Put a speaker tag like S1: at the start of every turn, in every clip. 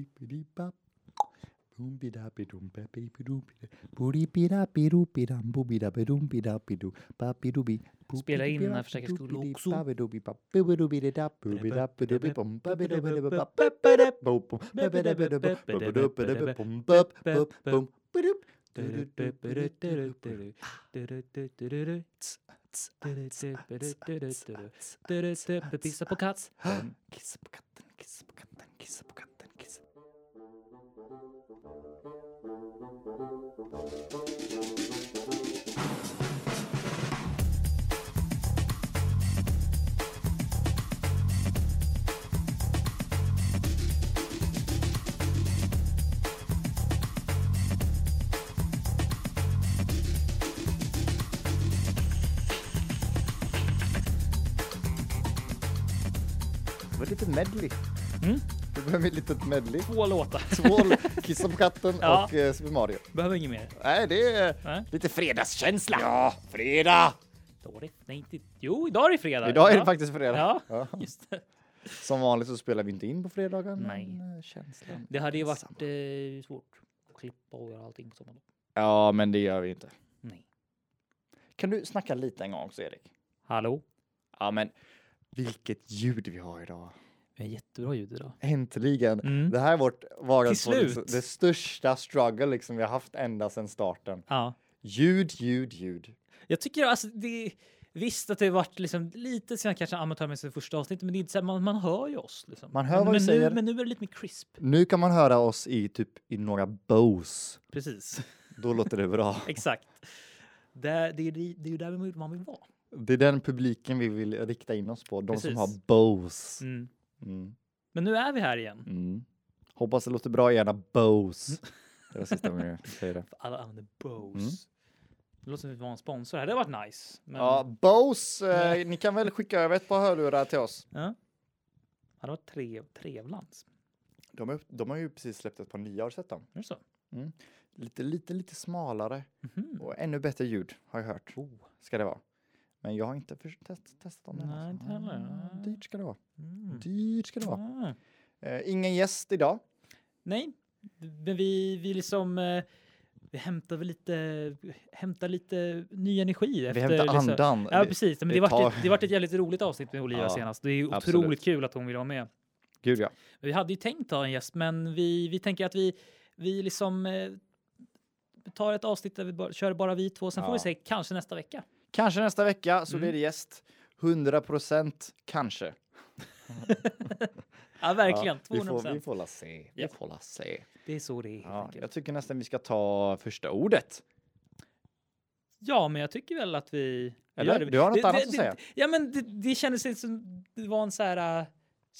S1: Beep-a-dee-bop. Boom-bi-da-bi-dum-ba-bi-bi-dum-bi-da. Bo-di-bi-da-bi-do-bi-dam. Bo-bi-da-bi-dum-bi-da-bi-do. Ba-bi-do-bi.
S2: Spela in den här förstärkarskullen också.
S1: Ba-bi-do-bi-bap. Bo-bi-do-bi-di-da. Bo-bi-da-bi-do-bi-bom. Ba-bi-do-bi-do-bi-bap. Ba-ba-da-bo-bom. Ba-ba-da-ba-da-bop. Ba-ba-da-ba-da-bop. Bop, bop, bom. Ba-dup. Du-du-du-du-du-du-du.
S2: Pissa på katt.
S1: Kissa på katten, kissa på katten, kissa på katten, kissa Det var ett litet medley.
S2: Mm.
S1: Det blev ett litet medley.
S2: Två låtar.
S1: Tvål, Kissa på katten
S2: Ja.
S1: och eh, Super Mario.
S2: Behöver inget mer.
S1: Nej, det är
S2: Nej.
S1: lite fredagskänsla. Ja, fredag!
S2: Då är det, nej, inte, jo, idag är det fredag.
S1: Idag är
S2: Ja.
S1: det faktiskt fredag.
S2: Ja,
S1: Ja.
S2: just det.
S1: Som vanligt så spelar vi inte in på fredagen.
S2: Nej.
S1: men, eh, Känslan.
S2: Det hade ju varit
S1: Samma.
S2: eh, svårt att klippa och göra allting på sommaren.
S1: Ja, men det gör vi inte.
S2: Nej.
S1: Kan du snacka lite en gång också, Erik?
S2: Hallå?
S1: Ja, men vilket ljud vi har idag.
S2: Vi har jättebra ljud idag.
S1: Äntligen.
S2: Mm.
S1: Det här är vårt vardagsproblem.
S2: Till slut.
S1: Det största struggle liksom vi har haft ända sedan starten.
S2: Ja.
S1: Ljud, ljud, ljud.
S2: Jag tycker alltså det Visst att det varit liksom lite sen kanske amatörmässigt första avsnittet, men det är inte så här, man, man hör ju oss. Liksom.
S1: Man hör
S2: men,
S1: vad vi
S2: men
S1: säger.
S2: Nu, men nu är det lite mer crisp.
S1: Nu kan man höra oss i typ i några Bose.
S2: Precis.
S1: Då låter det bra.
S2: Exakt. Det, det, är, ju- det är ju där vi- man vill vara.
S1: Det är den publiken vi vill rikta in oss på. De som
S2: Precis.
S1: har Bose.
S2: Mm.
S1: Mm.
S2: Men nu är vi här igen.
S1: Mm. Hoppas det låter bra i era Bose. Det var sista gången jag säger det.
S2: Alla använder Bose.
S1: Mm.
S2: Det låter som att vi var en sponsor här. Det hade varit nice. Men
S1: Ja,
S2: ja.
S1: Bose, eh, ni kan väl skicka över ett par hörlurar till oss.
S2: det hade varit trev, trevlands.
S1: De, är, de har ju precis släppt ett par nya, har du sett dem?
S2: Är det så?
S1: Lite, lite, lite smalare
S2: Mhm.
S1: och ännu bättre ljud har jag hört.
S2: Oh.
S1: Ska det vara. Men jag har inte förs- test, testat dem än,
S2: Nej,
S1: alltså.
S2: inte heller.
S1: Mm, Dyrt ska det vara.
S2: Mm.
S1: Dyrt ska det vara.
S2: Ah.
S1: Eh, ingen gäst idag.
S2: Nej, men vi, vi liksom... eh, Vi hämtar väl lite, hämtar lite ny energi.
S1: Vi
S2: Efter,
S1: hämtar
S2: liksom-
S1: andan.
S2: Ja,
S1: Det-
S2: precis. Men
S1: det
S2: det, vart
S1: tar-
S2: ett, det vart ett jävligt roligt avsnitt med Olivia
S1: Ja,
S2: senast. Det är ju
S1: absolut.
S2: otroligt kul att hon vill vara med.
S1: Gud ja.
S2: Vi hade ju tänkt ha en gäst, men vi, vi tänker att vi, vi liksom eh, tar ett avsnitt där vi bara, kör bara vi två. Sen får
S1: Ja.
S2: vi se, kanske nästa vecka.
S1: Kanske nästa vecka så
S2: Mm.
S1: blir det gäst. 100 procent kanske.
S2: Ja, verkligen.
S1: Ja, vi
S2: 200
S1: får, vi får la se. Vi
S2: Ja.
S1: får la se.
S2: Det är så det är.
S1: Ja,
S2: Ja,
S1: jag tycker nästan vi ska ta första ordet.
S2: ja, men jag tycker väl att vi... vi
S1: Eller?
S2: gör det.
S1: Du har något
S2: det,
S1: annat
S2: det,
S1: att säga?
S2: Det, ja, men det, det kändes inte som... Det var en så här... äh,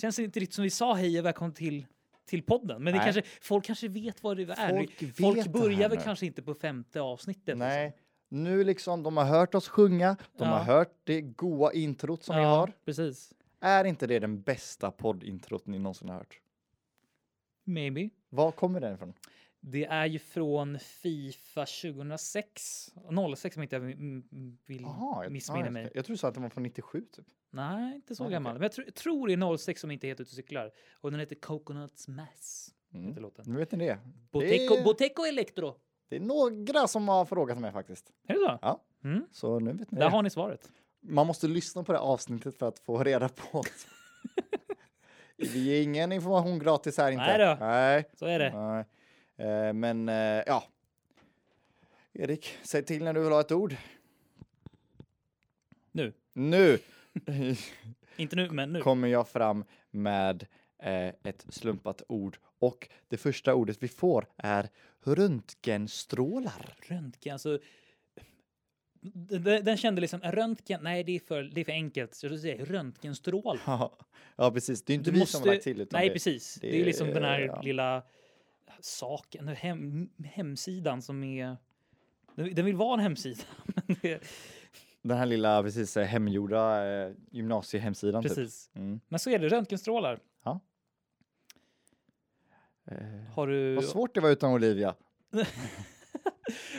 S2: känns inte riktigt som vi sa hej och välkommen till, till podden. Men det
S1: Nej.
S2: kanske, folk kanske vet vad det är.
S1: Folk vet det här
S2: folk börjar väl
S1: nu.
S2: kanske inte på femte avsnittet.
S1: Nej, nu liksom de har hört oss sjunga. De
S2: Ja.
S1: har hört det goa introt som vi
S2: Ja,
S1: har.
S2: Precis.
S1: Är inte det den bästa poddintrot ni någonsin har hört?
S2: Maybe.
S1: Var kommer den ifrån?
S2: Det är ju från Fifa 2006. 06 om inte jag mm, mm, vill
S1: Jaha, jag, ja,
S2: missminner
S1: jag,
S2: mig.
S1: ska- jag tror du sa att den var från 97 typ.
S2: Nej, inte så
S1: Ja, okej.
S2: gammal. Men jag tror, tror det är 06 som inte heter Ute och cyklar. Och den heter Coconuts Mass.
S1: Mm.
S2: Heter låten.
S1: Nu vet ni det.
S2: Boteco,
S1: Mm. Det-
S2: Boteco Electro.
S1: Det är några som har frågat mig faktiskt.
S2: Är det så?
S1: Ja.
S2: Mm.
S1: Så nu vet ni
S2: Där
S1: det.
S2: har ni svaret.
S1: Man måste lyssna på det här avsnittet för att få reda på. Vi ger ingen information gratis här inte.
S2: Nej då.
S1: Nej.
S2: Så är det.
S1: Nej. Eh, Men eh, ja. Erik, säg till när du vill ha ett ord.
S2: Nu.
S1: Nu
S2: Inte nu, men nu.
S1: kommer jag fram med eh, ett slumpat ord och det första ordet vi får är röntgenstrålar.
S2: Röntgen, alltså. Den, den kände liksom röntgen. Nej, det är för, det är för enkelt. Så jag säger röntgenstrål.
S1: Ja, ja, precis. Det är inte
S2: Du
S1: vi som har lagt till. Utan
S2: nej,
S1: det,
S2: precis. Det,
S1: det-
S2: är liksom den här
S1: ja.
S2: lilla saken, hem, hemsidan som är... Den, den vill vara en hemsida. men det-
S1: Den här lilla precis eh, hemgjorda eh, gymnasiehemsidan. Typ.
S2: precis.
S1: Mm.
S2: Men så är det, röntgenstrålar.
S1: Ja. Eh,
S2: Har du...
S1: vad svårt det var utan Olivia.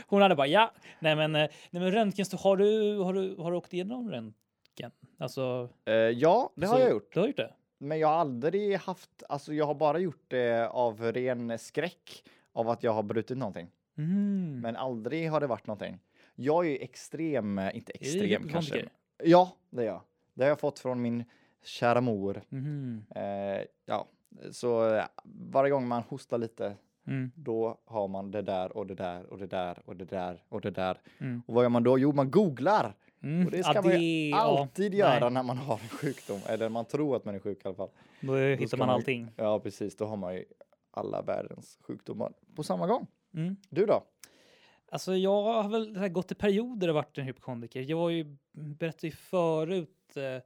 S2: Hon hade bara ja. Nej men, eh, nej, men röntgenstrålar, har du, har, du, har du åkt igenom röntgen? Alltså,
S1: Eh, ja, det har
S2: så-
S1: jag gjort.
S2: Du har gjort det?
S1: Men jag har aldrig haft, alltså jag har bara gjort det av ren skräck av att jag har brutit någonting.
S2: Mm.
S1: Men aldrig har det varit någonting. Jag är ju extrem, eh, inte
S2: Är det lite
S1: extrem kanske.
S2: romantiker?
S1: Ja, det är jag. Det har jag fått från min kära mor.
S2: Mhm.
S1: Eh, ja, så eh, varje gång man hostar lite
S2: Mm.
S1: då har man det där och det där och det där och det där och det där.
S2: Mm.
S1: Och vad gör man då? Jo, man googlar.
S2: Mm.
S1: Och det
S2: Ja,
S1: ska man
S2: det-
S1: ju
S2: ja,
S1: alltid
S2: nej.
S1: göra när man har en sjukdom. Eller man tror att man är sjuk i alla fall.
S2: Då
S1: Då
S2: hittar
S1: ska
S2: man
S1: man-
S2: allting.
S1: Ja, precis. Då har man ju alla världens sjukdomar på samma gång.
S2: Mm.
S1: Du då?
S2: Alltså jag har väl så här gått i perioder och varit en hypokondriker. Jag var ju, berättade ju förut, eh,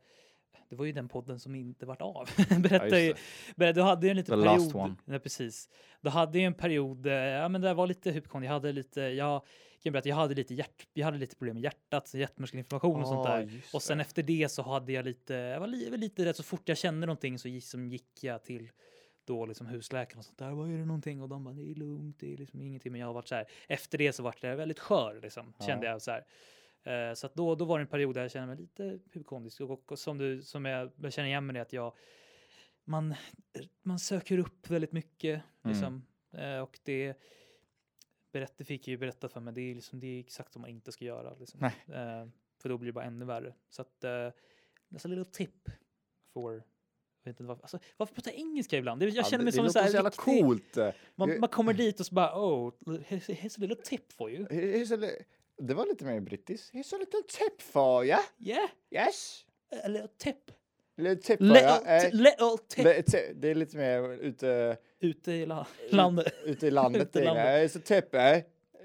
S2: det var ju den podden som inte vart av. berättade ju,
S1: det.
S2: berätt, du hade ju en liten
S1: The
S2: period.
S1: last one.
S2: Nej, precis. Du hade ju en period, eh, ja men det var lite hypokondri. Jag hade lite, jag kan berätta, jag hade lite hjärt, jag hade lite problem med hjärtat, så hjärtmuskelinflammation och sånt
S1: Ah,
S2: där.
S1: just
S2: Och sen
S1: det.
S2: efter det så hade jag lite, jag var li, lite rätt så fort jag kände någonting så liksom gick jag till då liksom husläkaren och sånt där, vad är det någonting? Och de bara, det är lugnt, det är liksom ingenting. Men jag har varit så här, efter det så vart jag väldigt skör liksom,
S1: Ja.
S2: kände jag så här. Eh, Så att då, då var det en period där jag kände mig lite hypokondrisk och, och, och som, du, som jag, jag känner igen mig i att jag, man, man söker upp väldigt mycket
S1: Mm.
S2: liksom. Eh, Och det berättade, fick jag ju berätta för mig, det är, liksom, det är exakt som man inte ska göra. Liksom.
S1: Nej.
S2: Eh, För då blir det bara ännu värre. Så att, eh, that's a little tip for jag vet inte varför, alltså, varför pratar jag engelska ibland? Det- Jag
S1: Ja,
S2: känner mig
S1: det,
S2: som
S1: det
S2: en så här
S1: låter så jävla
S2: riktig-
S1: coolt.
S2: Man,
S1: Jag-
S2: man kommer dit och så bara oh, here's here's a little tip for you.
S1: Here's a li- Det var lite mer brittiskt. Here's a little tip for you.
S2: Yeah,
S1: Yes.
S2: a little tip.
S1: Little tip for
S2: Little,
S1: you. Eh,
S2: ti- little tip.
S1: li- ti- Det är lite mer ute...
S2: Ute i la-
S1: Mm.
S2: landet.
S1: Ute i landet.
S2: Ute
S1: Ute
S2: i
S1: i
S2: landet.
S1: Så täpp, eh?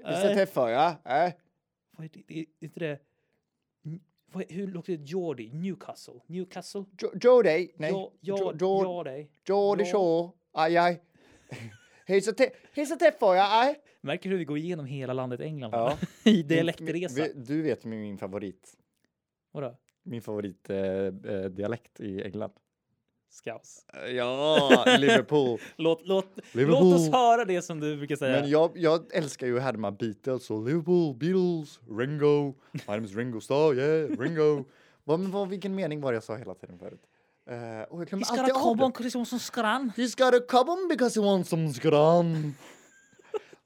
S1: Så
S2: Nej.
S1: täpp för, ja. eh?
S2: Vad är det- det? Är inte det? N- Vad, är- hur låter det? Geordie? Newcastle? Newcastle?
S1: Jo- Jody, nej.
S2: Ja, ja,
S1: Jo- Jo-
S2: ja, dig.
S1: Jody
S2: ja.
S1: Shaw, aj aj. Hissa te- hissa täpp för, ja, aj.
S2: Märker hur vi går igenom hela landet England?
S1: Ja.
S2: I
S1: Min-
S2: dialektresa.
S1: min- Du vet min min favorit.
S2: Vadå?
S1: Min favorit eh, eh, dialekt i England.
S2: Scouse.
S1: Ja, Liverpool.
S2: Eh, Låt, låt,
S1: Liverpool.
S2: låt oss höra det som du brukar säga.
S1: Men jag, jag älskar ju att härma Beatles och Liverpool, Beatles, Ringo. My name is Ringo Starr, yeah, Ringo. vad, men vad, vilken mening var det jag sa hela tiden förut? Uh, och jag
S2: Vi
S1: glömmer
S2: ska
S1: alltid
S2: ha
S1: av det.
S2: kobbon Christian som skrann.
S1: He's got a problem because he wants some scrum.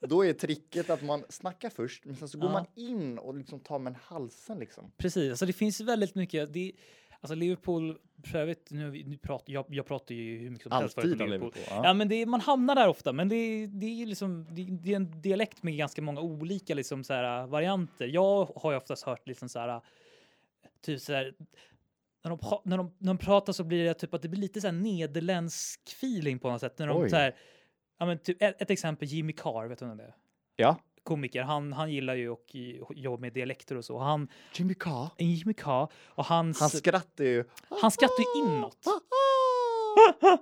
S1: Då är tricket att man snackar först, men sen så går
S2: Ja.
S1: man in och liksom tar med halsen liksom.
S2: Precis, alltså det finns väldigt mycket. Det, alltså Liverpool, för övrigt, nu, har vi- nu pratar, jag, jag pratar ju hur mycket som helst förut om
S1: Alltid om
S2: Liverpool.
S1: Liverpool.
S2: Ja, men det, är- man hamnar där ofta, men det, är- det är ju liksom det, det är en dialekt med ganska många olika liksom så här, varianter. Jag har ju oftast hört liksom så här, typ så här, när de, pra- när, de, när de pratar så blir det typ att det blir lite så här nederländsk feeling på något sätt. När de
S1: Oj.
S2: så här, ja, men typ, ett, ett exempel, Jimmy Carr, vet du vem det är?
S1: Ja.
S2: Komiker, han, han gillar ju och jobba med dialekter och så. Han,
S1: Jimmy Carr.
S2: Jimmy Carr och hans...
S1: Han skrattar ju. "Ah,
S2: Han skrattar ju inåt.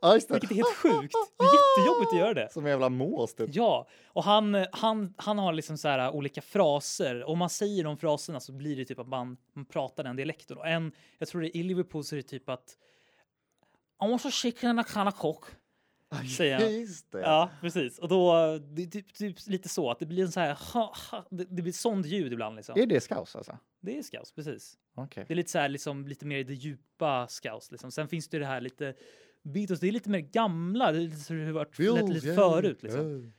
S1: ja, just det.
S2: Vilket är helt sjukt. Det är jättejobbigt att göra det.
S1: Som en jävla mås typ.
S2: Ja, och han, han, han har liksom så här olika fraser. Om man säger de fraserna så blir det typ att man, man pratar den dialekten. Och en, jag tror det är i Liverpool så är det typ att... I want some chicken and a can of coke. Säger han.
S1: Just det.
S2: Ja, precis. Och då, det är typ, typ lite så att det blir en så här... Ha, ha, det, det blir sånt ljud ibland liksom.
S1: Är det scouse alltså?
S2: Det är skaus, precis.
S1: Okej.
S2: Det är lite så här, liksom, lite mer i det djupa scouse. Liksom. Sen finns det ju det här lite Beatles, det är lite mer gamla, det är lite så det har varit lät lite förut. Liksom.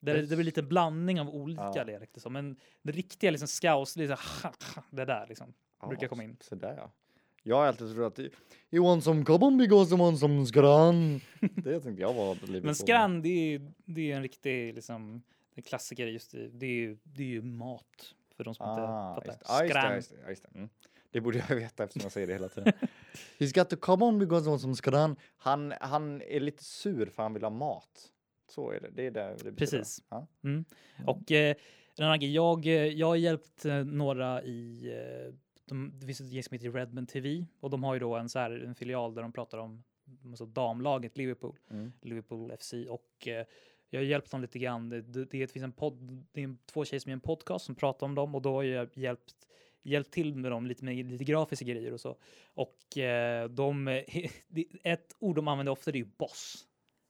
S2: Där det, det blir lite blandning av olika
S1: Ja.
S2: dialekter. Så. Men det riktiga liksom, scouse, det är så här, det där liksom. brukar komma in.
S1: Så där ja. Jag har alltid trott att det- you want some carbon because you want some skrann. Det tänkte jag var Liverpool.
S2: Men skrann, det är ju det är ju en riktig liksom, en klassiker just i, det är ju, det är ju mat. För de som
S1: Ah,
S2: inte
S1: just, ah,
S2: fattar.
S1: just, det,
S2: Skrann.
S1: just, det, ja, just det. Mm. det borde jag veta eftersom jag säger det hela tiden. He's got to come on because he wants some skrann. Han, han är lite sur för han vill ha mat. Så är det. Det är där det betyder.
S2: Precis.
S1: Ja.
S2: Mm. Och eh, en annan grej, jag, eh, jag har hjälpt eh, några i, eh, de, det finns ett gäng som heter Redman TV och de har ju då en, så här, en filial där de pratar om alltså, damlaget Liverpool,
S1: Mm.
S2: Liverpool FC och eh, jag har hjälpt dem lite grann. Det, det, det finns en podd, det är en- två tjejer som gör en podcast som pratar om dem och då har jag hjälpt hjälpt till med dem lite med lite grafiska grejer och så. Och eh, de, det- ett ord de använder ofta det är ju boss.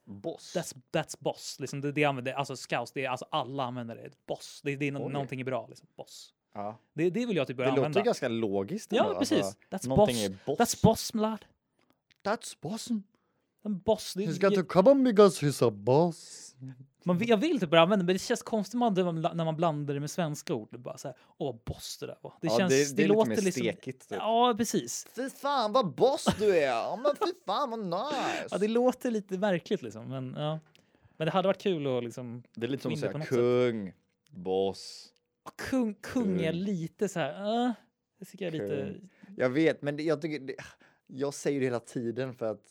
S1: Boss.
S2: That's, that's boss. Liksom det, det använder, alltså scouts, det är, alltså alla använder det. Boss, det, det är no,
S1: Oj.
S2: någonting är bra. Liksom. Boss.
S1: ja.
S2: Det, det vill jag typ
S1: Det
S2: börja
S1: låter
S2: använda.
S1: ganska logiskt.
S2: Ja,
S1: ändå,
S2: precis.
S1: Alltså,
S2: That's
S1: någonting
S2: boss.
S1: är boss.
S2: That's boss, my lad.
S1: that's Boston.
S2: En boss, det,
S1: He's got to come on because he's a boss.
S2: man, vill- jag vill typ börja använda det, men det känns konstigt man- när man- när man blandar det med svenska ord. Det är Bara så här, åh, boss det där var. Det,
S1: Ja,
S2: känns,
S1: det-
S2: det,
S1: det är lite
S2: låter
S1: mer
S2: liksom...
S1: stekigt, typ.
S2: Ja, precis.
S1: Fy fan vad boss du är! Ja men fy fan vad nice!
S2: Ja, det låter lite verkligt liksom, men ja. Men det hade varit kul att liksom...
S1: Det är lite som att
S2: mindre på
S1: säga
S2: något
S1: kung, boss.
S2: Kung, kung är
S1: Kung.
S2: lite så här... eh, det tycker jag är lite...
S1: Kung. Jag vet, men det, jag tycker... Det, jag säger det hela tiden för att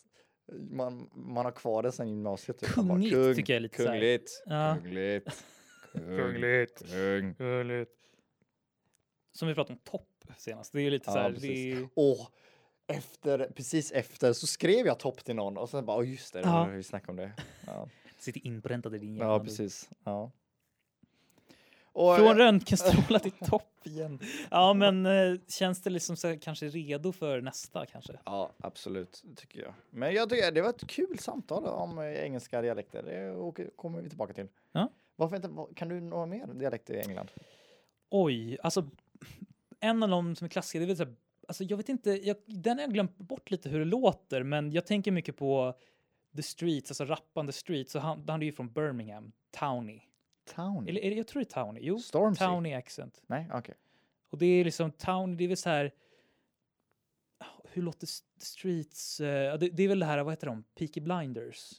S1: eh, man, man har kvar det sen gymnasiet. typ. Man bara,
S2: Kungligt tycker jag är lite så här.
S1: Kungligt,
S2: Ja.
S1: kungligt, kung,
S2: Kungligt.
S1: kung.
S2: Som vi pratade om topp senast. Det är ju lite
S1: Ja,
S2: så här...
S1: precis.
S2: Det är,
S1: Och efter, precis efter så skrev jag topp till någon och sen bara, oh, just det,
S2: Ja.
S1: vi snackade om det. Ja,
S2: sitter inpräntad i din hjärna.
S1: ja
S2: du.
S1: precis. Ja. Och, eh,
S2: Från röntgenstrålar till topp igen. Ja, men eh, känns det liksom så här, kanske redo för nästa kanske?
S1: Ja, absolut, tycker jag. Men jag tycker det var ett kul samtal om eh, engelska dialekter. Det åker- kommer vi tillbaka till.
S2: Ja.
S1: Varför inte, va- kan du några mer dialekter i England?
S2: Oj, alltså en av dem som är klassiska, det är väl så här, alltså jag vet inte, jag, den har jag glömt bort lite hur det låter, men jag tänker mycket på The Streets, alltså rappande Streets, och han, han är ju från Birmingham, Towny.
S1: Town?
S2: Eller är det, jag tror det är Towny, jo,
S1: Stormzy?
S2: Towny accent.
S1: Nej, okej.
S2: Och det är liksom Towny, det är väl så här, hur låter s- Streets, eh, ja, det, det är väl det här, vad heter de, Peaky Blinders?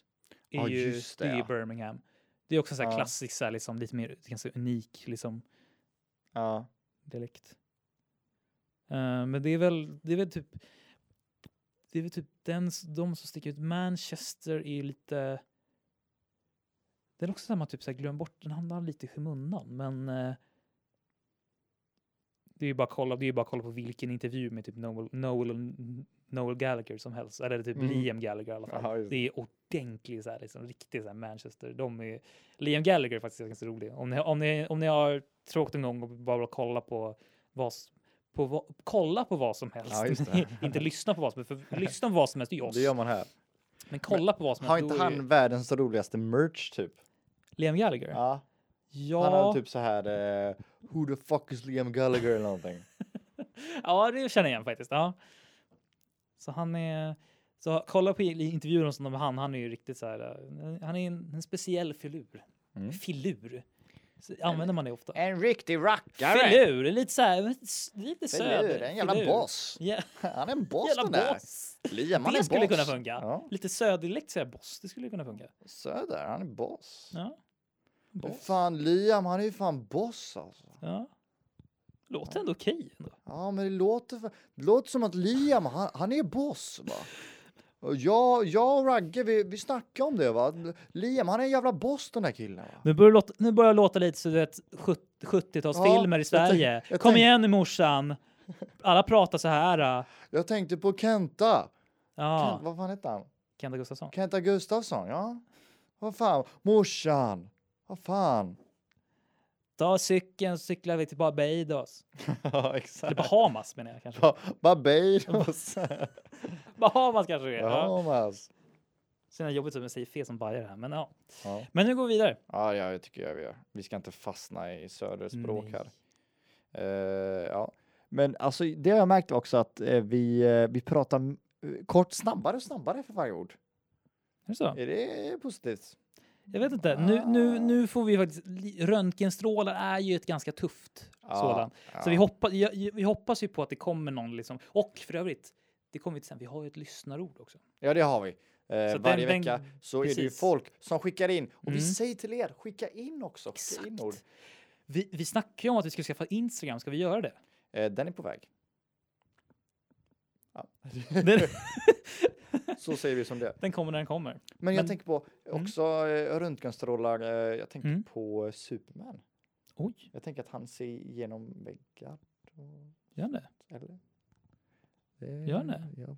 S2: Är
S1: Ja,
S2: ju,
S1: just det,
S2: är ju
S1: ja.
S2: Birmingham. Det är också en sån här
S1: Ja.
S2: klassisk, så här, liksom, lite mer, ganska unik liksom
S1: Ja.
S2: dialekt. Eh, men det är väl, det är väl typ, det är väl typ den, s- de som sticker ut. Manchester är ju lite, den är också samma typ så här glöm bort, den hamnar lite i skymundan, men eh, det är ju bara att kolla, det är ju bara att kolla på vilken intervju med typ Noel, Noel, Noel Gallagher som helst, eller typ
S1: Mm.
S2: Liam Gallagher i alla fall.
S1: Ja, just
S2: det är ordentlig så här, liksom riktig så här Manchester. De är, Liam Gallagher är faktiskt ganska rolig. Om ni, om ni, om ni har tråkigt någon gång och bara vill kolla på vad s- på vad, kolla på vad som helst.
S1: Ja, just det.
S2: inte lyssna på vad som helst, för lyssna på vad som helst det är oss.
S1: Det gör man här.
S2: Men kolla på vad som
S1: Har
S2: helst.
S1: inte
S2: då är
S1: han
S2: det-
S1: världens roligaste merch typ?
S2: Liam Gallagher? Ja.
S1: Ja. Han har typ så här, eh, who the fuck is Liam Gallagher eller någonting.
S2: ja, det känner jag igen faktiskt. Ja. Så han är... Så kolla på i- intervjun som de med han. Han är ju riktigt så här... eh, Han är en, en speciell filur.
S1: Mm.
S2: Filur. Så använder man det ofta.
S1: En riktig rackare!
S2: Filur, är lite så här... Lite söder.
S1: en jävla
S2: filur.
S1: boss.
S2: Ja,
S1: Han är en boss den
S2: jävla
S1: där.
S2: boss.
S1: Liam, han är
S2: Det skulle
S1: boss.
S2: kunna funka.
S1: Ja.
S2: Lite söderdialekt säger jag boss. Det skulle kunna funka.
S1: Söder, han är boss.
S2: Ja.
S1: Boss.
S2: Boss.
S1: Fan, Liam, han är ju fan boss alltså.
S2: Ja. Låter ändå okej. Ändå.
S1: Ja, men det låter, fa- det låter som att Liam, han, han är boss. Va? Och jag, jag och Ragge, vi, vi snackade om det. Va? Liam, han är en jävla boss den där killen. Va?
S2: Nu börjar, det låta, nu börjar det låta lite så du vet 70- 70-talsfilmer i
S1: jag
S2: Sverige.
S1: tänk- jag
S2: Kom
S1: tänk-
S2: igen nu morsan. Alla pratar så här. äh.
S1: Jag tänkte på Kenta.
S2: Ja,
S1: Kent, vad fan heter han?
S2: Kenta Gustafsson.
S1: Kenta Gustafsson, ja. Vad fan, morsan. Vad fan.
S2: Ta cykeln så cyklar vi till Barbados.
S1: ja,
S2: Eller
S1: exakt.
S2: Bahamas menar jag kanske.
S1: Ba- Barbados.
S2: Bahamas kanske det är. Ja.
S1: Bahamas.
S2: Sen är det jobbigt att man säger fel som bajar här. Men, ja.
S1: Ja.
S2: men nu går vi vidare.
S1: Ja, ja, jag tycker jag vi gör. Vi ska inte fastna i söderspråk
S2: Nej.
S1: här. Eh, ja. Men alltså, det har jag märkt också att eh, vi, eh, vi pratar m- eh, kort snabbare och snabbare för varje ord.
S2: Är det så?
S1: Är det positivt?
S2: Jag vet inte. Nu, nu, nu får vi faktiskt... li- Röntgenstrålar är ju ett ganska tufft sådant. Så vi, hoppa, ja, ja, vi hoppas ju på att det kommer någon liksom. Och för övrigt, det kommer vi till sen. Vi har ju ett lyssnarord också.
S1: Ja, det har vi. Eh,
S2: Så
S1: varje
S2: den-
S1: vecka
S2: den-
S1: så är det ju
S2: precis.
S1: folk som skickar in. Och vi
S2: Mm.
S1: säger till er, skicka in också. Skicka in ord.
S2: Vi, vi snackar ju om att vi ska skaffa Instagram. Ska vi göra det?
S1: Eh, den är på väg. Ja.
S2: Den,
S1: så säger vi som det är.
S2: den kommer när den kommer.
S1: Men jag
S2: Men-
S1: tänker på också eh, röntgenstrålar. Eh, jag tänker
S2: Mm.
S1: på eh, Superman.
S2: Oj,
S1: Jag tänker att han ser igenom väggar. och-
S2: gör den det?
S1: Eller?
S2: Gör det?
S1: Ja.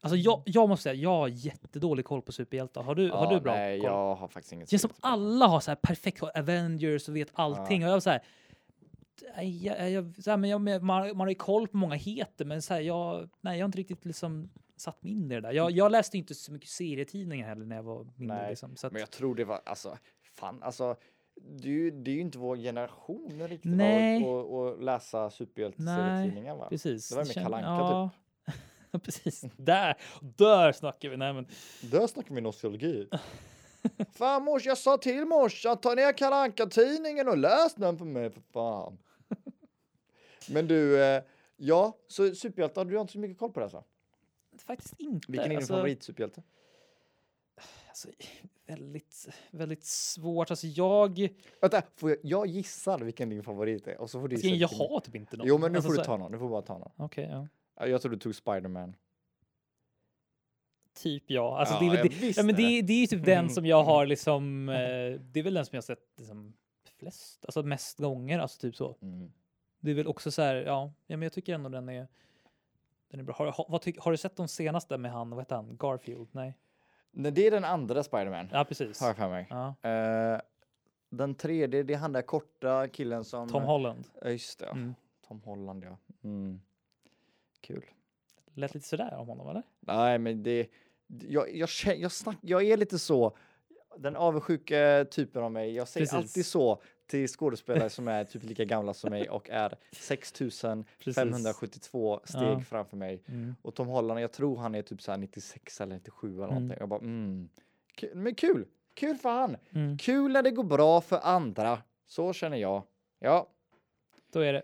S2: Alltså jag, jag måste säga, jag har jättedålig koll på superhjältar. Har du, har
S1: Ja,
S2: du bra
S1: nej,
S2: koll?
S1: jag har faktiskt inget.
S2: Det känns som
S1: superhjälte.
S2: alla har så här perfekt koll. Avengers och vet allting. Och jag var så här, nej, jag, jag, så här men jag, men man, man har ju koll på många heter, men så här, jag, nej, jag har inte riktigt liksom satt mig in i det där. Jag, jag läste inte så mycket serietidningar heller när jag var mindre.
S1: Nej,
S2: liksom, så att,
S1: Men jag tror det var, alltså, fan, alltså. Det är ju, det är ju inte vår generation riktigt va,
S2: Nej.
S1: att- att- att läsa
S2: Nej,
S1: superhjälteserietidningar va?
S2: precis.
S1: typ. det var ju mer Kalle Anka,
S2: ja. Precis, där, där snackar vi. Nej, men,
S1: Där snackar vi nostalgi. fan mors, jag sa till morsan, ta ner karanka tidningen och läs den för mig för fan. Men du, eh, ja, så superhjältar, du har inte så mycket koll på det alltså?
S2: faktiskt inte.
S1: Vilken är din
S2: Alltså,
S1: favoritsuperhjälte?
S2: Alltså, väldigt, väldigt svårt. Alltså jag...
S1: Vänta, får jag, jag gissar vilken din favorit är och så får du
S2: Ska jag,
S1: gissa
S2: jag
S1: vilken-
S2: har typ inte någon.
S1: Jo, men nu
S2: Alltså
S1: får du
S2: så
S1: ta
S2: här-
S1: någon, du får bara ta någon.
S2: Okej, ja.
S1: Ja, Jag tror du tog Spiderman.
S2: Typ ja. Alltså,
S1: Ja,
S2: det, är väl
S1: jag
S2: det,
S1: visste
S2: ja men
S1: det. Mm.
S2: det, det är ju typ den som jag har liksom... Eh, det är väl den som jag har sett liksom, flest, alltså mest gånger. Alltså typ så.
S1: Mm.
S2: Det är väl också så här, ja, ja men jag tycker ändå den är... Den är bra. Har, har, vad tyck, har du sett de senaste med han, vad heter han, Garfield? Nej?
S1: Nej, det är den andra Spiderman,
S2: Ja, precis.
S1: har jag för mig.
S2: Ja.
S1: Eh, den tredje, det är han där korta killen som...
S2: Tom Holland.
S1: Ja, just det. ja.
S2: Mm.
S1: Tom Holland, ja. Mm. Kul.
S2: Lät lite sådär om honom, eller?
S1: Nej, men det... Jag, jag, känner, jag, snack, jag är lite så... Den avundsjuka typen av mig. Jag säger
S2: Precis.
S1: alltid så till skådespelare som är typ lika gamla som mig och är 6572 steg
S2: Ja.
S1: framför mig.
S2: Mm.
S1: Och Tom Holland, jag tror han är typ så här 96 eller 97 eller
S2: Mm.
S1: någonting. Jag bara, mm. Kul, men kul! Kul för han!
S2: Mm.
S1: Kul när det går bra för andra. Så känner jag. Ja,
S2: Då är det,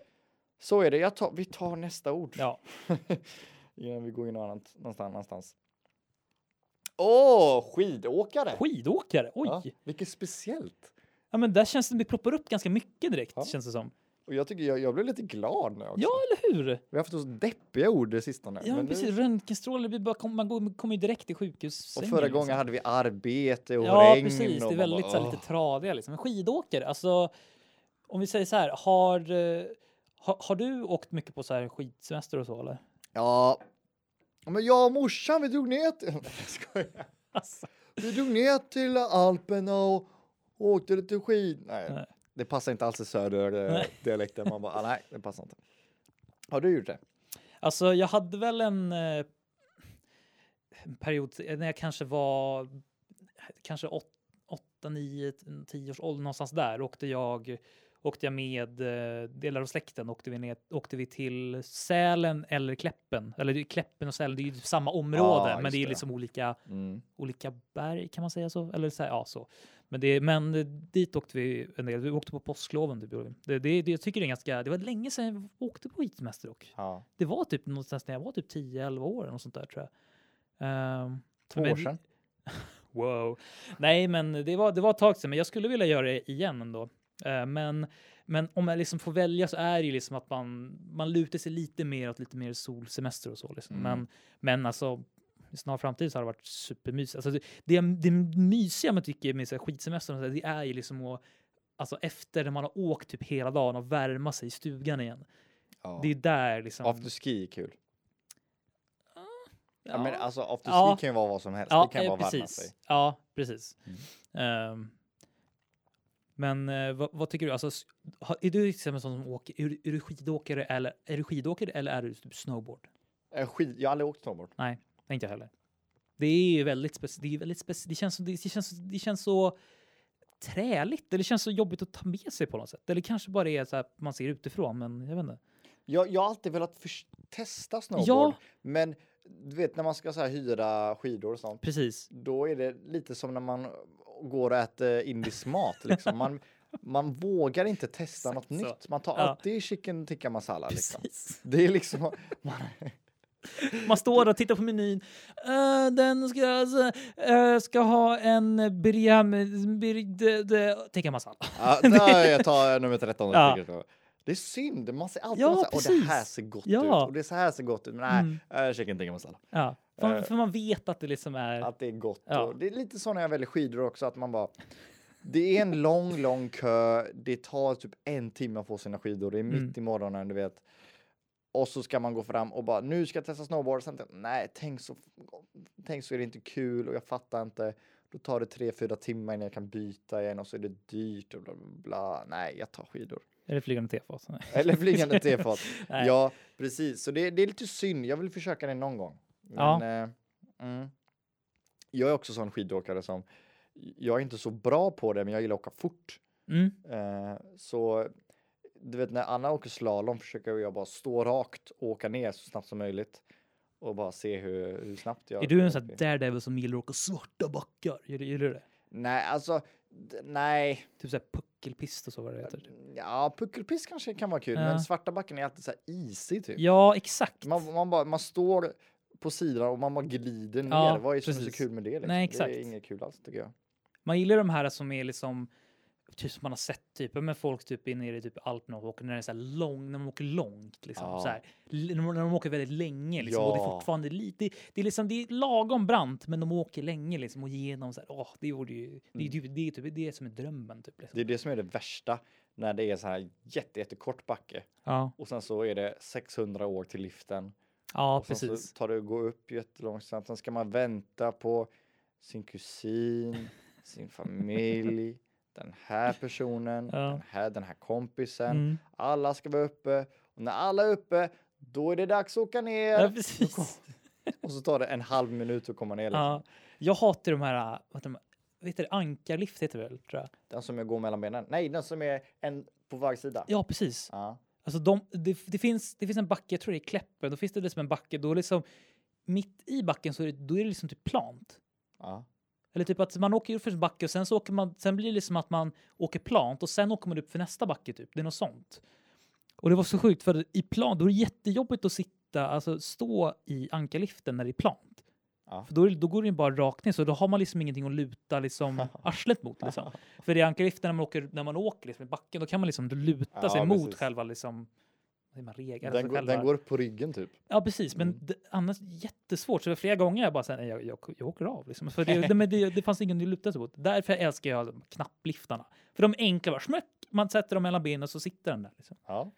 S1: så är det. Jag tar, vi tar nästa ord.
S2: ja.
S1: Innan vi går in någon annan, någonstans. någonstans. Åh, skidåkare!
S2: Skidåkare, oj!
S1: Ja,
S2: Ja.
S1: vilket speciellt.
S2: men där känns det, vi ploppar upp ganska mycket direkt,
S1: Ja.
S2: känns det som.
S1: Och jag tycker jag, jag blev lite glad nu också.
S2: Ja, eller hur?
S1: Vi har haft så deppiga ord det sista nu.
S2: Ja, men
S1: nu-
S2: precis. Röntgenstrålar, vi bara kom, man går- kommer ju direkt till
S1: och
S2: sjukhussängen.
S1: förra
S2: liksom.
S1: gången hade vi arbete och
S2: Ja,
S1: regn.
S2: precis.
S1: och
S2: Det är
S1: man
S2: väldigt så här,
S1: bara,
S2: lite tradiga liksom. Men skidåkare, alltså om vi säger så här, har, eh, har, har du åkt mycket på så här skidsemester och så eller?
S1: Ja. Men jag och morsan, vi drog ner till... Nej, jag skojar.
S2: Alltså,
S1: Vi drog ner till Alperna och åkte lite skid. Nej,
S2: Nej.
S1: det passar inte alls i
S2: Nej.
S1: söderdialekten. Man bara, ah, nej, det passar inte. Har du gjort det?
S2: alltså jag hade väl en, eh, en period när jag kanske var kanske 8, 9, 10 års ålder någonstans där åkte jag åkte jag med eh, delar av släkten åkte vi, ner, åkte vi till Sälen eller Kläppen eller det är Kläppen och Sälen det är ju typ samma område men
S1: just
S2: det är
S1: det.
S2: liksom olika
S1: Mm.
S2: olika berg kan man säga så? Eller så här, ja, så. Men, det, men eh, dit åkte vi en del. Vi åkte på påskloven. Typ. gjorde vi. Det, det, det, jag tycker det är ganska, det var länge sedan jag åkte på skidsemester dock.
S1: Ja.
S2: Det var typ någonstans när jag var typ 10-11 år eller något sånt där tror jag. Ehm,
S1: Två
S2: men-
S1: år sedan.
S2: Wow. Nej, men det var, det var ett tag sedan, men jag skulle vilja göra det igen ändå. Eh, Men, men om jag liksom får välja så är det ju liksom att man, man lutar sig lite mer åt lite mer solsemester och så. Liksom.
S1: Mm.
S2: Men, men alltså, i snar framtid så har det varit supermysigt. Alltså, det, det, det mysiga man tycker med så här skidsemester, och så här, det är ju liksom att Alltså efter när man har åkt typ hela dagen och värma sig i stugan igen.
S1: Ja.
S2: Det är där liksom.
S1: Afterski är kul. Ja. men alltså, afterski
S2: Ja.
S1: kan ju vara vad som helst. Alltså, det kan
S2: eh,
S1: vara Mm. värma
S2: precis.
S1: sig.
S2: Ja, precis. Ehm, men eh, vad, vad tycker du? Alltså, s- har, är du till exempel sån som åker? Är, du- är du skidåkare eller är du skidåkare eller är du typ snowboard?
S1: Eh, Skid, jag har aldrig åkt snowboard.
S2: Nej, inte jag heller. Det är ju väldigt speci- det, är väldigt speci- det, känns, som- det, det, känns, det känns så träligt eller det känns så jobbigt att ta med sig på något sätt. Eller kanske bara är så här man ser utifrån, men jag vet inte.
S1: Jag, jag har alltid velat förs- testa snowboard. Men du vet när man ska så här, hyra skidor och sånt.
S2: Precis.
S1: då är det lite som när man går och äter indisk mat. Liksom. Man, man vågar inte testa något
S2: Exakt så.
S1: nytt. Man tar
S2: Ja.
S1: alltid chicken tikka masala. Liksom.
S2: Precis.
S1: Det är liksom... Man,
S2: Man står och tittar på menyn. Eh, den ska, eh, ska ha en biryam... eh, Bir, de, de, tikka masala.
S1: ja, där jag tar nummer 13. och
S2: Ja.
S1: tycker så. Det är synd. Man ser alltid
S2: Ja,
S1: ja, så här, "Åh, det här
S2: precis.
S1: ser gott
S2: Ja.
S1: ut. Och det är så här ser gott ut. Men nej,
S2: Mm.
S1: eh, chicken tikka masala.
S2: Ja, för,
S1: Eh.
S2: för man vet att det liksom är...
S1: Att det är gott.
S2: Ja.
S1: Och det är lite så när jag väljer skidor också. Att man bara... Det är en lång, lång kö. Det tar typ en timme att få sina skidor. Det är mitt
S2: Mm.
S1: i morgonen, du vet. Och så ska man gå fram och bara, nu ska jag testa snowboard. Sen, tänker jag, nej, tänk så, tänk så är det inte kul och jag fattar inte. Då tar det tre, fyra timmar innan jag kan byta igen och så är det dyrt och bla, bla, bla. Nej, jag tar skidor.
S2: Är det flygande tefat? Nej.
S1: Eller flygande tefat.
S2: Nej.
S1: ja, precis. Så det, det är lite synd. Jag vill försöka det någon gång. Men,
S2: Ja.
S1: eh, mm. Jag är också sån skidåkare som... Jag är inte så bra på det, men jag gillar att åka fort.
S2: Mm.
S1: Eh, så du vet, när Anna åker slalom försöker jag bara stå rakt och åka ner så snabbt som möjligt. och bara se hur, hur snabbt jag...
S2: Är du en
S1: kommer
S2: sån här
S1: upp i.
S2: daredevil som gillar att åka svarta backar? Gillar, gillar du det?
S1: Nej, alltså, d- nej.
S2: Typ såhär puckelpist och så vad det heter. typ.
S1: Ja, puckelpiss kanske kan vara kul,
S2: Ja.
S1: men svarta backen är alltid så här isig typ.
S2: Ja, exakt.
S1: Man, man, bara, man står på sidan och man bara glider ner.
S2: Ja,
S1: Vad är det som är så
S2: precis.
S1: kul med det? Liksom?
S2: Nej,
S1: Det är
S2: exakt.
S1: inget kul alls tycker jag.
S2: Man gillar de här som är liksom typ som man har sett typ, men folk typ är nere i typ Alperna och åker när det är så här lång, när de åker långt liksom.
S1: Ja.
S2: Så här, l- när, de, när de åker väldigt länge liksom, och det är
S1: Ja.
S2: fortfarande lite, det, det är liksom, det är lagom brant men de åker länge liksom och genom så här, åh, det gjorde ju, det, är typ- det är typ det som är drömmen typ. Liksom.
S1: Mm. Det är det som är det värsta när det är så här jätte, jättekort backe
S2: ja,
S1: och sen så är det 600 år till liften.
S2: ja
S1: och sen
S2: precis.
S1: så tar det och går upp jättelångsamt. Sen ska man vänta på sin kusin, sin familj, den här personen,
S2: Ja.
S1: den, här, den här kompisen.
S2: Mm.
S1: Alla ska vara uppe och när alla är uppe då är det dags att åka ner.
S2: Ja, precis.
S1: Och så tar det en halv minut att komma ner. Liksom.
S2: Ja, jag hatar de här, vad heter de, vad heter det, ankarlift heter det väl, tror jag.
S1: Den som jag går mellan benen. Nej, den som är en på varje sida.
S2: Ja, precis.
S1: Ja.
S2: Alltså de, det, det, finns, det finns en backe, jag tror det är Kläppen, då finns det liksom en backe, då liksom mitt i backen så är det, då är det liksom typ plant.
S1: ja.
S2: Eller typ att man åker upp för en backe och sen så åker man, sen blir det liksom att man åker plant och sen åker man upp för nästa backe typ. Det är något sånt. Och det var så sjukt för i plan, då är det jättejobbigt att sitta, alltså stå i ankarliften när det är plant.
S1: Ja.
S2: För då, är, det- då går det ju bara rakt ner så då har man liksom ingenting att luta liksom arslet mot liksom. För i ankarliften när man åker, när man åker liksom i backen då kan man liksom luta
S1: Ja,
S2: sig mot
S1: precis.
S2: själva liksom vad säger man, alltså regel,
S1: Den, går- den går upp på ryggen typ.
S2: Ja, precis. Men
S1: Mm.
S2: det, annars jättesvårt. Så det var flera gånger jag bara sa nej, jag, jag, jag åker av. Liksom. För det, det, men det, det fanns ingen att luta sig mot. Därför älskar jag de knappliftarna. För de är enkla bara smöck, man sätter dem mellan benen och så sitter den där. Liksom.
S1: Ja.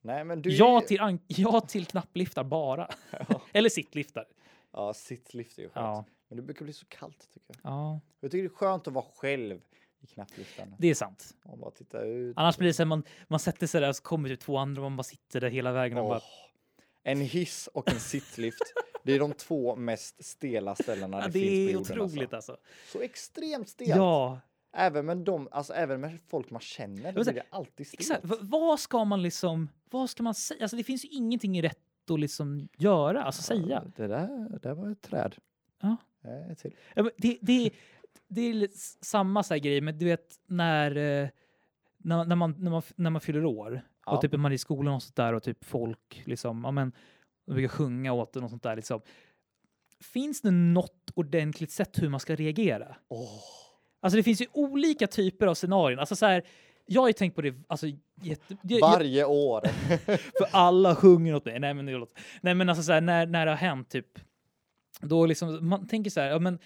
S1: Nej, men du är
S2: Ja,
S1: ju-
S2: till, an- ja till knappliftar bara. Eller sittliftar.
S1: Ja, sittlift är ju skönt.
S2: Ja.
S1: Men det brukar bli så kallt tycker jag.
S2: ja,
S1: Jag tycker det är skönt att vara själv i knappliftarna.
S2: det är sant.
S1: Och bara titta ut.
S2: Annars blir det så här, man, man sätter sig där och så kommer det två andra och man bara sitter där hela vägen. Och
S1: Åh.
S2: bara,
S1: En hiss och en sittlift. det är de två mest stela ställena
S2: ja,
S1: det,
S2: det
S1: finns på
S2: är
S1: jorden.
S2: otroligt
S1: Alltså.
S2: alltså.
S1: Så extremt stelt.
S2: Ja,
S1: Även, med de, alltså, även med folk man känner
S2: vill
S1: blir
S2: säga,
S1: det alltid stelt.
S2: Exakt. V- vad ska man liksom... Vad ska man säga? Alltså, det finns ju ingenting rätt att liksom göra, alltså säga.
S1: Det där, det där var ett träd.
S2: Ja.
S1: Eh, ett till.
S2: Ja, men Det, det, det är lite s- samma så här grej, men du vet när, eh, när, när, man, när, man, när man fyller år
S1: Ja.
S2: och typ man är i skolan och sånt där och typ folk liksom, ja men, de brukar sjunga åt en och sånt där liksom. Finns det något ordentligt sätt hur man ska reagera?
S1: Åh.
S2: Alltså det finns ju olika typer av scenarion. Alltså så här, jag har ju tänkt på det, alltså jätte, jag- jag-
S1: Varje år.
S2: För alla sjunger åt mig. Nej men, det låter- nej, men alltså så här, när, när det har hänt typ. Då liksom, man tänker så här, ja men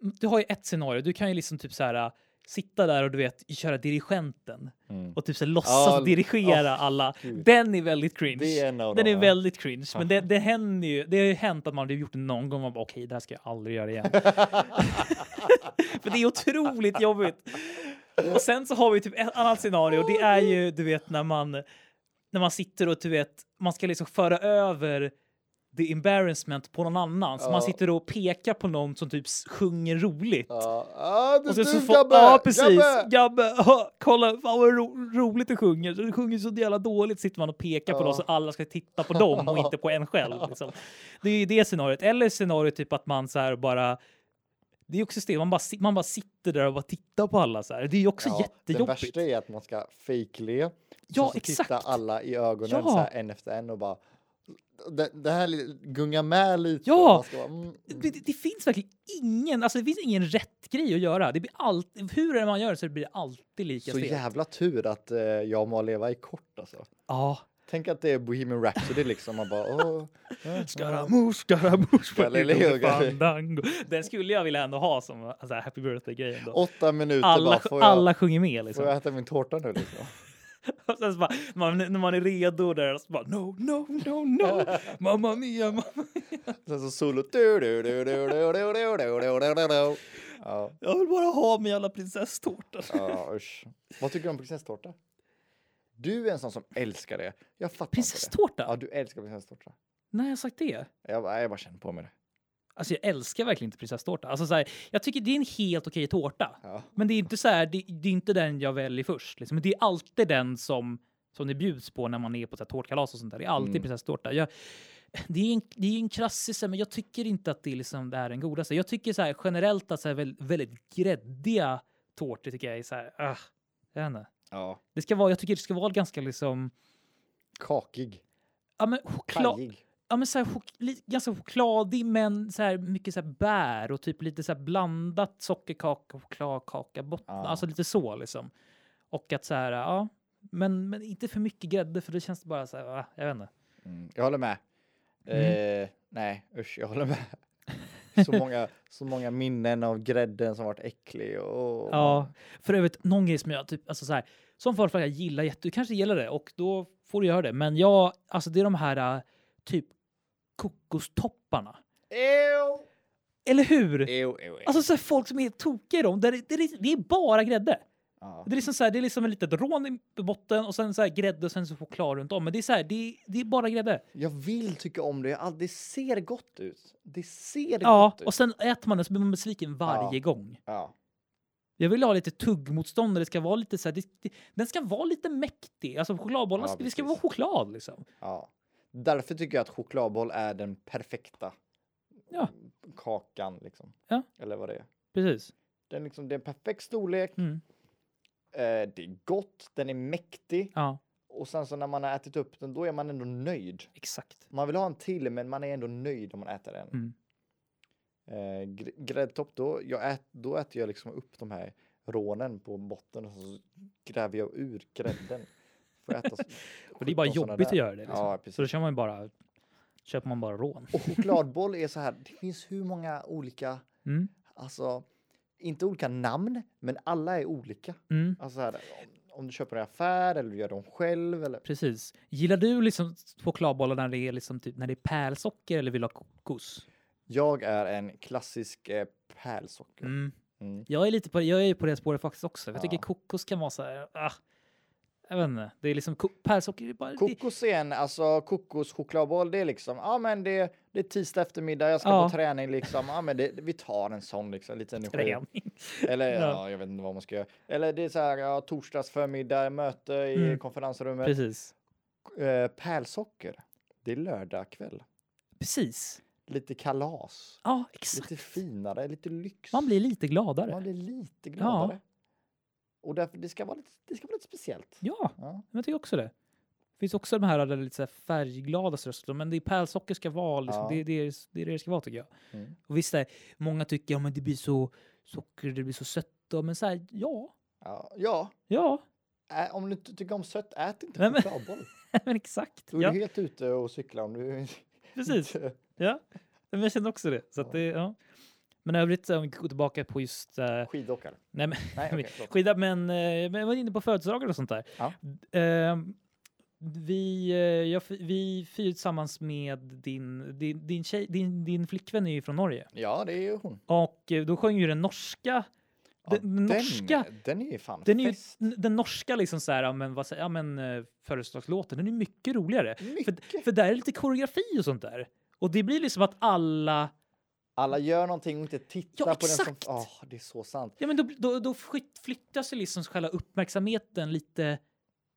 S2: du har ju ett scenario. Du kan ju liksom typ så här äh, sitta där och du vet köra dirigenten
S1: Mm.
S2: och typ så här, låtsas
S1: Ja,
S2: dirigera
S1: åh,
S2: alla.
S1: gud.
S2: Den är väldigt cringe.
S1: Det är en av
S2: Den
S1: dem,
S2: är
S1: ja.
S2: väldigt cringe, men det, det händer ju. Det har ju hänt att man har gjort det någon gång. Man bara okej, det här ska jag aldrig göra igen. För det är otroligt jobbigt. Och sen så har vi typ ett annat scenario. Det är ju, du vet, när man, när man sitter och du vet, man ska liksom föra över the embarrassment på någon annan. Så
S1: Ja.
S2: man sitter och pekar på någon som typ s- sjunger roligt.
S1: Ja, ah, det
S2: Och
S1: är
S2: sen så
S1: du
S2: får,
S1: Gabbe!
S2: ja, precis.
S1: Gabbe!
S2: Gabbe, hö, kolla fan vad ro, roligt du sjunger. Du sjunger så jävla dåligt sitter man och pekar på
S1: Ja.
S2: dem så alla ska titta på dem och inte på en själv. Liksom. Det är ju det scenariot. Eller scenariot typ att man så här bara det är ju också det, man bara, si- man bara sitter där och bara tittar på alla så här. Det är ju också
S1: det
S2: jättejobbigt.
S1: värsta är att man ska fejkle.
S2: Ja,
S1: så titta
S2: exakt.
S1: alla i ögonen
S2: Ja.
S1: så här, en efter en och bara... Det, det här li- gungar med lite.
S2: Ja.
S1: Man ska bara, mm,
S2: Det, det, det finns verkligen ingen, alltså det finns ingen rätt grej att göra. Det blir alltid, hur det än man gör så blir det alltid lika
S1: så
S2: stelt.
S1: jävla tur att eh, jag och leva i kort alltså.
S2: Ja.
S1: Tänk att det är Bohemian Rhapsody liksom. Man bara... åh, eh,
S2: Scaramouche, scaramouche på
S1: Galileo,
S2: Galileo
S1: Galileo.
S2: Fandango. Den skulle jag vilja ändå ha som alltså, happy birthday-grejen. då.
S1: Åtta minuter bara.
S2: Alla,
S1: Får jag,
S2: alla sjunger med
S1: får
S2: liksom.
S1: jag äta min tårta nu liksom?
S2: Och sen så bara, man, när man är redo där så bara no, no, no, no. Mamma mia, mamma.
S1: Sen så solo. Du, du, du, du, du, du, du, du, du, du, du. Ja,
S2: Jag vill bara ha min jävla prinsesstårta.
S1: ja, usch. Vad tycker du om prinsesstårta? Du är en sån som älskar det. Jag fattar inte det.
S2: Prinsesstårta?
S1: Ja, du älskar prinsesstårta.
S2: När har jag sagt det?
S1: Jag, bara- jag bara känner på mig det.
S2: Alltså jag älskar verkligen inte prinsesstårta. Alltså, så här, jag tycker det är en helt okej tårta.
S1: Ja.
S2: Men det är inte så här, det, det är inte den jag väljer först. Liksom. Det är alltid den som, som det bjuds på när man är på så här, tårtkalas och sånt där. Det är alltid
S1: Mm.
S2: prinsesstårta. Jag, det är en, det är en krassig så här, men jag tycker inte att det är liksom det här är den godaste. Jag tycker så här generellt att så här, väldigt, väldigt gräddiga tårtor tycker jag är så här, ah, jag vet inte.
S1: Ja.
S2: Det ska vara, jag tycker det ska vara ganska liksom,
S1: Kakig.
S2: ja men choklad,
S1: Pajig.
S2: ja men så här, chok, li, ganska chokladig men så här mycket så här bär och typ lite så här blandat sockerkaka, chokladkaka, botten,
S1: Ja.
S2: alltså lite så liksom. Och att så här, ja, men, men inte för mycket grädde för det känns det bara så här, ah, jag vet inte.
S1: Mm, jag håller med.
S2: Mm.
S1: Eh, nej, usch, jag håller med. Så många, så många minnen av grädden som varit äcklig. Och,
S2: Ja, för övrigt, någon grej som jag typ, alltså så här, som folk jag gillar jätte, du kanske gillar det och då får du göra det. Men jag, alltså det är de här äh, typ kokostopparna.
S1: Ew.
S2: Eller hur?
S1: Ew, ew, ew.
S2: Alltså så här, folk som är tokiga i dem, där det, det, är- det är bara grädde.
S1: Ja.
S2: Det är liksom så här, det är liksom en litet rån i botten och sen så här grädde och sen så choklad runt om. Men det är så här, det, det är bara grädde.
S1: Jag vill tycka om det. Jag all- Det ser gott ut. Det ser
S2: Ja,
S1: gott ut.
S2: och sen äter man den så blir man besviken
S1: Ja.
S2: varje gång.
S1: Ja.
S2: Jag vill ha lite tuggmotstånd och det ska vara lite så här, det, det, den ska vara lite mäktig. Alltså chokladbollar,
S1: Ja,
S2: ska- det ska vara
S1: precis.
S2: choklad liksom.
S1: ja. Därför tycker jag att chokladboll är den perfekta
S2: Ja.
S1: kakan. Liksom.
S2: Ja.
S1: Eller vad det är.
S2: Precis.
S1: Den liksom, det är en perfekt storlek.
S2: Mm.
S1: Eh, det är gott, den är mäktig
S2: Ja,
S1: och sen så när man har ätit upp den, då är man ändå nöjd.
S2: exakt.
S1: Man vill ha en till, men man är ändå nöjd om man äter en.
S2: Mm.
S1: Eh, gr- gräddtopp, då, jag ät, då äter jag liksom upp de här rånen på botten och så gräver jag ur grädden. Får äta så-
S2: Och det är bara
S1: 17 såna
S2: jobbigt att
S1: där.
S2: göra det. Liksom.
S1: Ja,
S2: så då
S1: precis.
S2: kör man ju bara, köper man bara rån.
S1: Och chokladboll är så här, det finns hur många olika,
S2: Mm.
S1: alltså inte olika namn, men alla är olika.
S2: Mm.
S1: Alltså här, om, om du köper en affär eller du gör dem själv eller
S2: Precis. Gillar du liksom chokladbollar när det är, liksom typ, när det är pärlsocker eller vill du ha kokos?
S1: Jag är en klassisk eh, pärlsocker.
S2: Mm.
S1: Mm.
S2: Jag är lite på, jag är på det spåret faktiskt också. Jag tycker
S1: Ja.
S2: kokos kan vara så här, ah, jag vet inte. Det är liksom ko- pärlsocker, det är bara, det,
S1: Kokos är en, alltså kokoschokladboll, det är liksom, ja men det, det är tisdag eftermiddag, jag ska
S2: Ja.
S1: på träning liksom, ja men det, vi tar en sån liksom, lite energi.
S2: träning.
S1: Eller
S2: Ja.
S1: ja. jag vet inte vad man ska göra. Eller det är så här, ja torsdags förmiddag, möte i
S2: Mm.
S1: konferensrummet.
S2: Precis.
S1: Eh, pärlsocker, det är lördag kväll.
S2: Precis.
S1: Lite kalas,
S2: Ja, exakt.
S1: lite finare, lite lyx.
S2: Man blir lite gladare.
S1: Man blir lite gladare. Och därför, det ska vara lite, det ska vara lite speciellt.
S2: Ja,
S1: Ja.
S2: Men jag tycker också det. Det finns också de här, där lite så här färgglada strössel, men det är pärlsocker ska vara. Liksom.
S1: Ja.
S2: Det, det, är, det är det det ska vara tycker jag.
S1: Mm.
S2: Och visst, är, många tycker att men det blir så socker, det blir så sött. då", Men så här, ja,
S1: Ja, ja.
S2: ja,
S1: Ä- om du inte tycker om sött, ät inte
S2: Nej, men-
S1: chokladboll.
S2: men exakt.
S1: Då är
S2: Ja,
S1: du helt ute och cyklar om du
S2: precis.
S1: inte-
S2: Ja. Men jag kände också det. Så att
S1: Ja.
S2: det ja. Men i övrigt, om vi går tillbaka på just... eh,
S1: skidåkare.
S2: nej, men,
S1: Nej, okej, förlåt.
S2: skida, men, eh, men jag var inne på födelsedagar och sånt där.
S1: Ja.
S2: Ehm, vi, eh, jag, fi- vi firar tillsammans med din, din, din, tjej, din, din flickvän är ju från Norge.
S1: Ja, det är ju hon.
S2: Och eh, då sjöng ju den norska,
S1: Ja,
S2: den, norska,
S1: Den, den är ju fan
S2: den, är ju,
S1: fest.
S2: n- den norska liksom så här, ja, men, vad säger, ja, men eh, födelsedagslåten, den är mycket roligare. För,
S1: Mycket.
S2: för där är det lite koreografi och sånt där. Och det blir liksom att alla
S1: Alla gör någonting och inte tittar
S2: Ja,
S1: på den som...
S2: exakt.
S1: Ja, det är så sant.
S2: Ja, men då, då, då flytt- flyttar sig liksom själva uppmärksamheten lite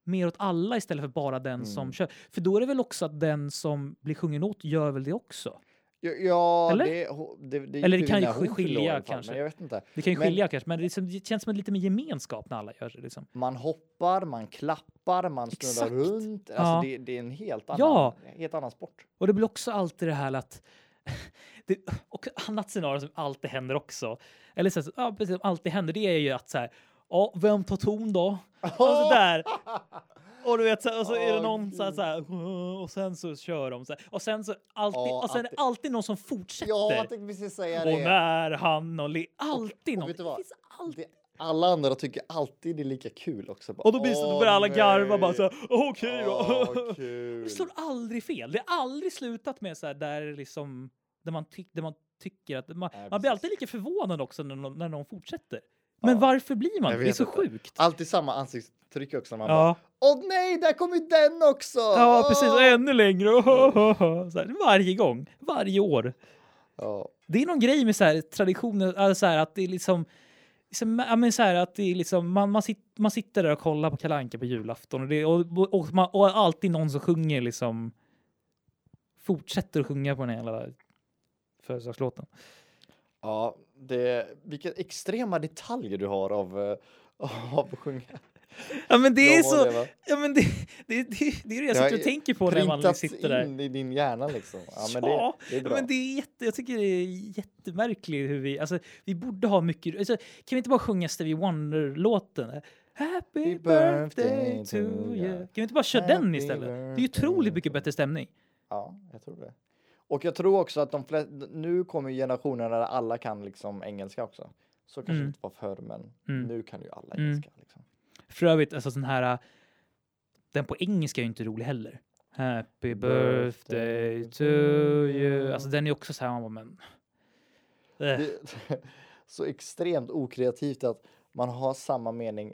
S2: mer åt alla istället för bara den som
S1: Mm.
S2: kör. För då är det väl också att den som blir sjungen åt gör väl det också.
S1: Ja, ja
S2: Eller?
S1: det, ho- det, det gick
S2: Eller det
S1: ju
S2: kan ju
S1: när hon
S2: sk-
S1: fyllde år i
S2: skilja
S1: alla fall,
S2: kanske.
S1: Men jag vet inte.
S2: Det kan ju
S1: Men-
S2: skilja kanske, men det, är liksom, det känns som en lite mer gemenskap när alla gör det. Liksom.
S1: Man hoppar, man klappar, man snurrar
S2: Exakt.
S1: runt. Alltså, det,
S2: Ja.
S1: det är en helt annan,
S2: Ja.
S1: helt annan sport.
S2: Och det blir också alltid det här att det, och annat scenario som alltid händer också. Eller så, här, ja, precis, som alltid händer det är ju att så här, ja, vem tar ton då? Och så där. Och du vet, så, och så är det
S1: Åh,
S2: någon så här,
S1: gud.
S2: så här, och sen så kör de så här. Och sen så alltid,
S1: Ja,
S2: och sen är det
S1: alltid.
S2: alltid någon som fortsätter.
S1: Ja, jag tänkte precis säga
S2: och
S1: det.
S2: när han och le, alltid
S1: och
S2: någon.
S1: vet du vad?
S2: Det finns alltid.
S1: det. Alla andra tycker alltid det är lika kul också. Bara,
S2: Och då blir det så att
S1: "Åh,
S2: då börjar alla
S1: nej."
S2: garva bara så här, okej då.
S1: Åh, kul.
S2: Det slår aldrig fel. Det har aldrig slutat med så här där liksom där man, tyck, där man tycker att man,
S1: Nej,
S2: man
S1: precis.
S2: blir alltid lika förvånad också när någon, när någon fortsätter. Men
S1: Ja.
S2: varför blir man
S1: Jag
S2: det? Det är
S1: vet
S2: så
S1: inte.
S2: sjukt.
S1: Alltid samma ansiktstryck också. när Man bara,
S2: Ja,
S1: Åh nej, där kom ju den också! Ah.
S2: ja
S1: Åh!"
S2: precis. Och ännu längre.
S1: Mm.
S2: Så här, varje gång, varje år.
S1: Ja.
S2: Det är någon grej med så här traditioner, alltså så här att det är liksom liksom, ja, men så här att det är liksom, man, man, sit, man sitter där och kollar på Kalle Anka på julafton och, det, och, och, och, man, och alltid någon som sjunger liksom fortsätter att sjunga på den här jävla födelsedagslåten.
S1: Ja, det, vilka extrema detaljer du har av, eh, av att sjunga.
S2: Ja men det är
S1: Jag
S2: så,
S1: håller, va?
S2: ja men det, det, det, det är det jag
S1: Det har
S2: sitter och tänker på när man
S1: Printats
S2: sitter där.
S1: in i din hjärna liksom. Ja, men
S2: Ja,
S1: det, det är
S2: Ja,
S1: bra.
S2: men det är jätte, jag tycker det är jättemärkligt hur vi, alltså vi borde ha mycket, alltså, kan vi inte bara sjunga Stevie Wonder-låten? Happy birthday to you. Kan vi inte bara köra den
S1: Happy
S2: istället? Det är ju
S1: birthday
S2: otroligt
S1: to
S2: mycket
S1: you.
S2: bättre stämning.
S1: Ja, jag tror det. Och jag tror också att de flesta, nu kommer ju generationer där alla kan liksom engelska också. Så kanske
S2: Mm.
S1: det inte var förr, men
S2: Mm.
S1: nu kan ju alla
S2: Mm.
S1: engelska. Liksom.
S2: För övrigt, alltså sån här, äh, den på engelska är ju inte rolig heller. Happy birthday to you. Alltså den är också så här, man bara, men... Äh,
S1: Det, så extremt okreativt att man har samma mening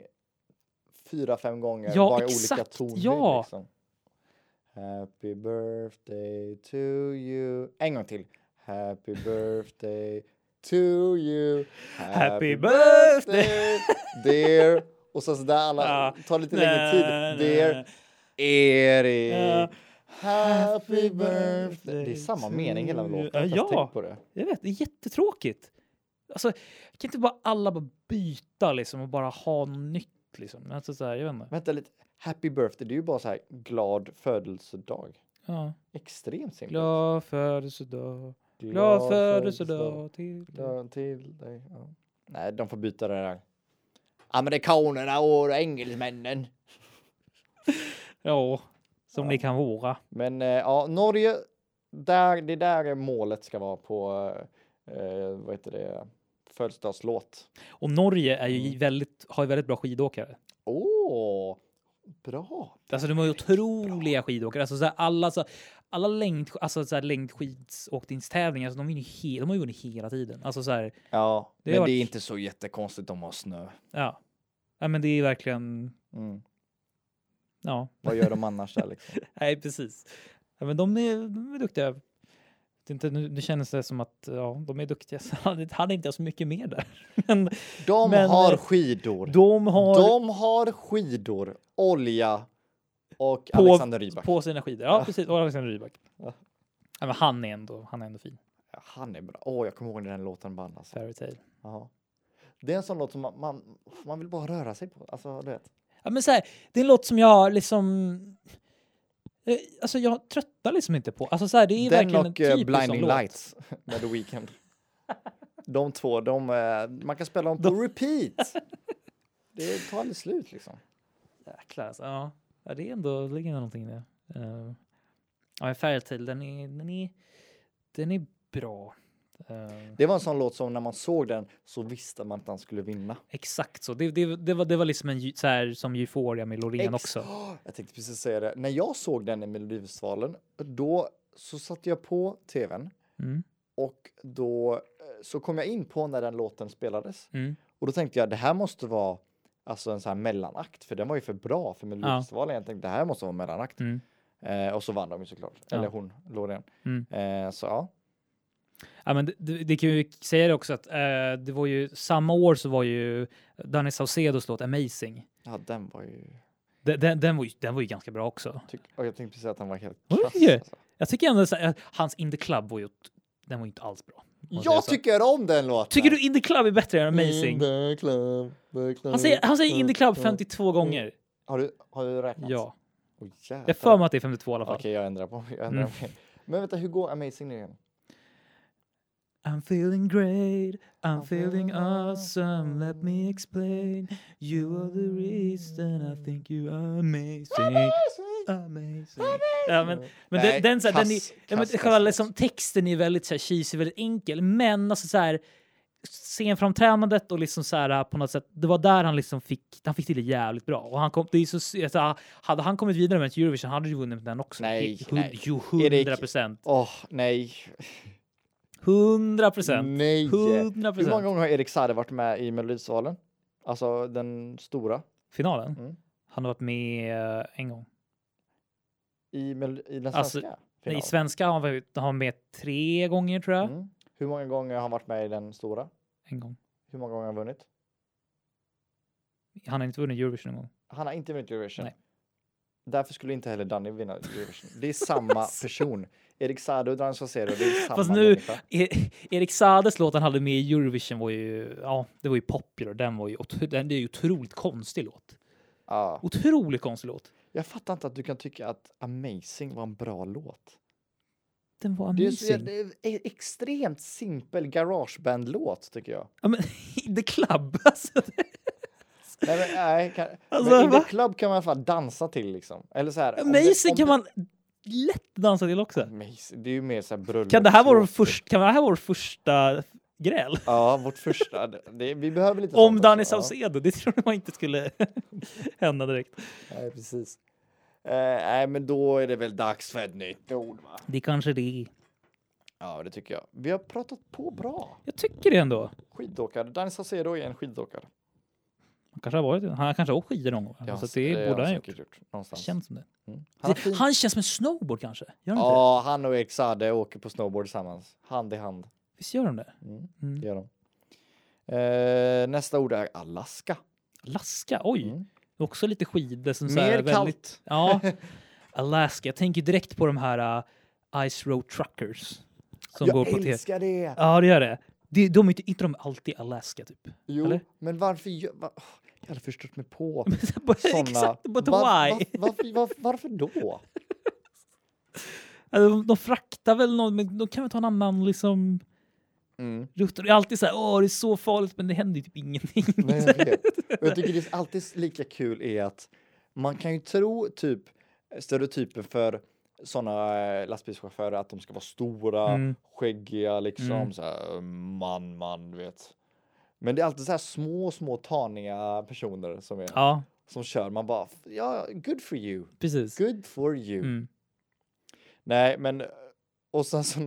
S1: fyra, fem gånger,
S2: Ja,
S1: bara i olika
S2: exakt.
S1: tonlägg.
S2: Ja.
S1: Liksom. Happy birthday to you. En gång till. Happy birthday to you.
S2: Happy birthday,
S1: dear. Och så sådär alla,
S2: Ja.
S1: tar lite längre tid.
S2: na, na,
S1: Dear Erik.
S2: Ja.
S1: Happy birthday.
S2: Happy
S1: Det är
S2: birthday
S1: samma
S2: to
S1: mening hela
S2: you.
S1: låten. Jag har
S2: Ja,
S1: inte ens
S2: ja.
S1: tänkt på det.
S2: Jag vet, det är jättetråkigt. Alltså, kan inte bara alla bara byta liksom och bara ha något nytt liksom? Alltså, så här, jag vet inte.
S1: Vänta lite. Happy birthday, det är ju bara så här glad födelsedag.
S2: Ja.
S1: Extremt simpelt.
S2: Glad födelsedag, glad födelsedag till dig.
S1: dag Till dig. Ja. Nej, de får byta det där. Amerikanerna och engelsmännen.
S2: Ja, som
S1: Ja.
S2: ni kan vara.
S1: Men eh, ja, Norge, där, det där är målet ska vara på, eh, vad heter det, födelsedagslåt.
S2: Och Norge är ju
S1: Mm.
S2: väldigt, har ju väldigt bra skidåkare.
S1: Åh, bra.
S2: Alltså de har ju otroliga skidåkare. Alltså, så här, alla så, alla längd, alltså, så här, längdskidåkningstävlingar, alltså, de, vinner ju he- de har ju vunnit hela tiden. Alltså så här,
S1: Ja,
S2: Det
S1: men
S2: har
S1: det är
S2: varit-
S1: inte så jättekonstigt om de har snö.
S2: ja. ja men det är verkligen,
S1: Mm.
S2: ja.
S1: Vad gör de annars där liksom?
S2: Nej, precis. Ja, men de är, de är duktiga. Det, är inte, nu, nu känns det som att ja, de är duktiga. Så hade, hade inte jag så mycket mer där. Men
S1: De
S2: Men,
S1: har
S2: eh,
S1: skidor.
S2: de har
S1: De har skidor, olja och
S2: På-
S1: Alexander Rybak.
S2: på sina skidor. Ja, precis. Och Alexander Rybak.
S1: Ja.
S2: Ja. men han är ändå, han är ändå fin.
S1: Ja, Han är bra. Åh, jag kommer ihåg när den låten band. Alltså.
S2: Fairytale.
S1: Jaha. Det är en sån låt som man, man, man vill bara röra sig på. Alltså, du vet.
S2: Ja, men så här, det är en låt som jag liksom... eh, Alltså jag tröttnar liksom inte på. Alltså så här, det
S1: Den
S2: är verkligen en
S1: och eh,
S2: typisk sån
S1: Blinding
S2: låt.
S1: Lights med The Weeknd. De två, de, eh, man kan spela dem på repeat. Det tar aldrig slut liksom.
S2: Jäklar alltså. Ja. ja, det är ändå, det ligger någonting i det. Uh, ja, men Fairytale, den är, den är, den är bra. Eh,
S1: Det var en sån låt som när man såg den så visste man att han skulle vinna.
S2: exakt så. Det, det, det, var, det var liksom en, ju- så här, som Euphoria med Loreen
S1: Ex-
S2: också.
S1: Åh, Jag tänkte precis säga det. När jag såg den i Melodifestivalen, då så satte jag på tvn
S2: Mm,
S1: och då eh, så kom jag in på när den låten spelades
S2: mm.
S1: och då tänkte jag det här måste vara alltså en sån här mellanakt för den var ju för bra för Melodifestivalen. Jag tänkte det här måste vara en mellanakt
S2: Mm.
S1: eh, och så vann de ju såklart.
S2: Ja.
S1: Eller hon, Loreen.
S2: Mm.
S1: Eh, så ja.
S2: Ja, men det, det, det kan ju säga det också att eh, det var ju samma år så var ju Danny Saucedos låt Amazing.
S1: ja, den var ju.
S2: Den, den, den, var ju, den var ju ganska bra också.
S1: Tyck... Och jag tänkte precis att den var helt
S2: Var det
S1: kass.
S2: det?
S1: Alltså.
S2: Jag tycker ändå så här, att hans In the Club var ju, den var ju inte alls bra. Om man säger
S1: Jag Mm,
S2: så.
S1: tycker om den låten.
S2: Tycker du In the Club är bättre än Amazing?
S1: the club, the club,
S2: Han säger, han säger In the Club 52
S1: Mm.
S2: gånger.
S1: Har du, har du räknat?
S2: Ja,
S1: Oh,
S2: jag för mig att det är 52 i alla
S1: Okej,
S2: fall.
S1: jag ändrar på mig. Jag ändrar
S2: Mm.
S1: mig. Men vänta, hur går Amazing nu igen?
S2: I'm feeling great, I'm
S1: feeling
S2: feeling awesome, let
S1: awesome.
S2: me explain. You are the reason I think you are amazing. Amazing. Ja, men, men
S1: Nej,
S2: den, den, så här, den är,
S1: kass,
S2: ja, men,
S1: kass,
S2: själva
S1: kass,
S2: liksom, texten är väldigt så här, cheesy, väldigt enkel, men alltså så här scenframträdandet och liksom så här på något sätt. Det var där han liksom fick. Han fick till det jävligt bra och han kom. Det är så alltså, hade han kommit vidare med ett Eurovision hade han ju vunnit den också.
S1: Nej,
S2: Hu-
S1: nej.
S2: Jo,
S1: Erik.
S2: hundra procent,
S1: Åh, nej.
S2: hundra procent,
S1: Nej.
S2: hundra
S1: Hur många
S2: procent.
S1: gånger har Erik Saade varit med i Melodifestivalen? Alltså den stora
S2: Finalen.
S1: Mm.
S2: Han har varit med eh, en gång.
S1: i, Mel- i den
S2: Alltså,
S1: svenska
S2: Nej, I
S1: finalen?
S2: svenska har han varit- har han med tre gånger tror jag.
S1: Mm. Hur många gånger har han varit med i den stora?
S2: En gång.
S1: Hur många gånger har han vunnit?
S2: Han har inte vunnit Eurovision en gång.
S1: Han har inte vunnit Eurovision.
S2: Nej.
S1: Därför skulle inte heller Danny vinna Eurovision. Det är samma person. Erik Saade och Dansa Zero, det är samma
S2: Alltså. Fast nu-
S1: människa.
S2: E- Erik Saades låt han hade med i Eurovision var ju, ja, det var ju popular. Den var ju, otro- den, det är ju otroligt konstig låt.
S1: Ja.
S2: Otroligt konstig låt.
S1: Jag fattar inte att du kan tycka att Amazing var en bra låt.
S2: Den var
S1: Det är, ju
S2: amazing.
S1: så- det är en extremt simpel garageband-låt tycker jag.
S2: Ja, men in the club alltså.
S1: Nej, men, nej, kan,
S2: Alltså,
S1: men in
S2: va?
S1: the club kan man i alla fall dansa till liksom. Eller så här, om det-
S2: Amazing
S1: om
S2: kan
S1: det- Mm,
S2: man lätt dansa till också.
S1: Amazing, det är ju mer så här bröllopslåt.
S2: Kan det här vara vår första, kan det här vara vår första gräl?
S1: Ja, vårt första. Det- Det, vi behöver lite
S2: Om
S1: sånt
S2: Danny
S1: också, ja.
S2: Saucedo, det trodde man inte skulle hända direkt.
S1: Nej, precis. Eh, nej, men då är det väl dags för ett nytt ord, va?
S2: Det kanske det är.
S1: Ja, det tycker jag. Vi har pratat på bra.
S2: Jag tycker det ändå.
S1: Skidåkare. Danny Saucedo är en skidåkare.
S2: Han kanske har varit han kanske har åkt skidor någon gång. så att det borde han ha gjort.
S1: säkert gjort. Någonstans.
S2: Känns som det.
S1: Mm. Han, har
S2: det.
S1: fin...
S2: Han känns som en snowboard kanske? Gör han inte det?
S1: Ja, han och Erik Saade åker på snowboard tillsammans. Hand i hand.
S2: Visst gör de det?
S1: Mm,
S2: Mm.
S1: det gör de. Eh, nästa ord är Alaska.
S2: Alaska, oj!
S1: Mm.
S2: Också lite skidor som så här
S1: Mer
S2: väldigt...
S1: kallt.
S2: Ja, Alaska. Jag tänker direkt på de här uh, Ice Road Truckers. Som går
S1: Jag
S2: på te-
S1: älskar det!
S2: Ja, det gör det. De, de är inte, inte de alltid i Alaska typ.
S1: Jo,
S2: Eller?
S1: men varför... gör- va- åh, Jag hade förstått mig på
S2: Bara-
S1: sådana.
S2: Exakt, but
S1: Var- var-
S2: why?
S1: varför, var, varför då?
S2: Alltså, de, de fraktar väl någon, men de kan väl ta en annan liksom
S1: Mm.
S2: rutt. Det är alltid så här, åh det är så farligt, men det händer ju typ ingenting.
S1: Nej, jag vet. Och jag tycker det är alltid lika kul är att man kan ju tro typ stereotypen för sådana lastbilschaufförer att de ska vara stora,
S2: Mm.
S1: skäggiga liksom
S2: Mm.
S1: så här, eh, man, man, du vet. Men det är alltid så här små, små taniga personer som, är,
S2: ja,
S1: som kör. Man bara, ja, good for you,
S2: precis.
S1: good for you.
S2: Mm.
S1: Nej, men och sen så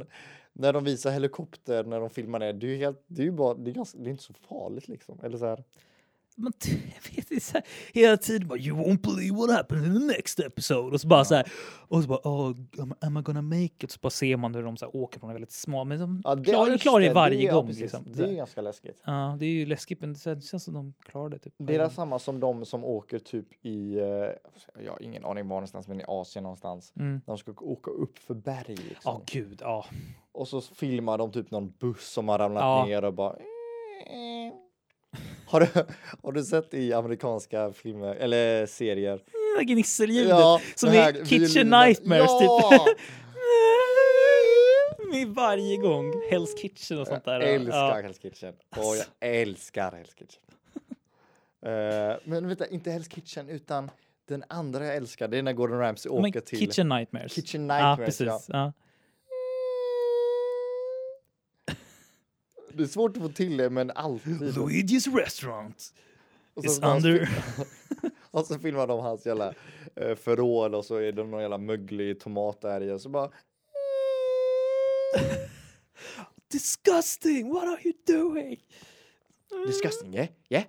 S1: när de visar helikopter när de filmar det, det är ju helt, det är ju bara, det är, ganska, det är inte så farligt liksom. Eller så här.
S2: Man, t- jag vet, det är så här, hela tiden bara “You won't believe what happened in the next episode” och så bara så här, och så bara “Oh, am, am I gonna make it?” så bara ser man hur de så här, åker på något väldigt smalt. Men de
S1: Ja,
S2: klarar
S1: ja,
S2: det,
S1: just
S2: klarar det
S1: det,
S2: varje
S1: ja,
S2: gång.
S1: precis.
S2: liksom.
S1: Det är ju ganska läskigt.
S2: ja, det är ju läskigt, men det så här- det känns som de klarar det. Typ.
S1: Det är samma som de som åker typ i, eh, jag har ingen aning var någonstans, men i Asien någonstans.
S2: Mm.
S1: De ska åka upp för berg liksom.
S2: Ja, gud. Ja.
S1: Och så filmar de typ någon buss som har ramlat
S2: Ja.
S1: ner och bara... Har du, har du sett i amerikanska filmer eller serier?
S2: Mm, Gnisselljudet. som
S1: det här
S2: i Kitchen
S1: violinen.
S2: Nightmares
S1: ja!
S2: typ. Med varje gång. Hell's Kitchen och sånt där.
S1: Jag älskar
S2: Ja.
S1: Hell's Kitchen. Och jag älskar Hell's Kitchen. Eh, men vänta, inte Hell's Kitchen utan den andra jag älskar, det är när Gordon Ramsay åker
S2: Men
S1: till...
S2: Kitchen Nightmares.
S1: Kitchen
S2: ja,
S1: Nightmares,
S2: precis.
S1: ja.
S2: Ja.
S1: Det är svårt att få till det, men alltid.
S2: Luigi's Restaurant.
S1: Och
S2: is
S1: bara-
S2: under-
S1: och så filmar de hans jävla eh, förråd och så är det någon jävla möglig tomat där i och så bara...
S2: Disgusting! What are you doing?
S1: Disgusting, yeah, yeah.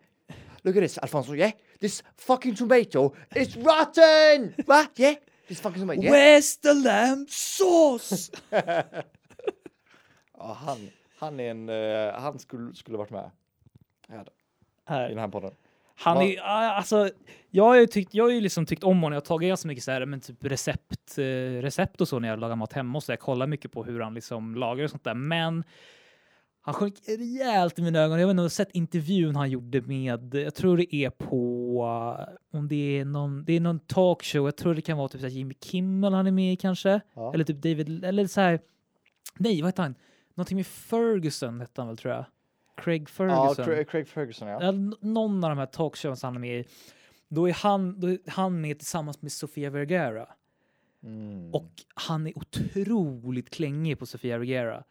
S1: Look at this, Alfonso, yeah. This fucking tomato is rotten! Va? Yeah? This fucking tomato, yeah.
S2: Where's the lamb sauce?
S1: Ja, han, han är en... eh, han skulle, skulle varit med här, i den
S2: Här.
S1: här podden.
S2: Han
S1: Va-
S2: är, ah, alltså, jag har ju tyckt, jag har ju liksom tyckt om honom. Jag har tagit ganska mycket så här, men typ recept, eh, recept och så när jag lagar mat hemma och så. Jag kollar mycket på hur han liksom lagar och sånt där. Men han sjönk rejält i mina ögon. Jag vet inte om du har sett intervjun han gjorde med, jag tror det är på, eh, om det är någon, det är någon talkshow. Jag tror det kan vara typ så här Jimmy Kimmel han är med i kanske.
S1: Ja.
S2: Eller typ David, eller så här, nej vad hette han? Någonting med Ferguson hette han väl tror jag. Craig
S1: Ja,
S2: Ferguson.
S1: Craig, Craig Ferguson, ja.
S2: Ja, n- någon av de här talkshows han är med i, då är han, då är han med tillsammans med Sofia Vergara.
S1: Mm.
S2: Och han är otroligt klängig på Sofia Vergara.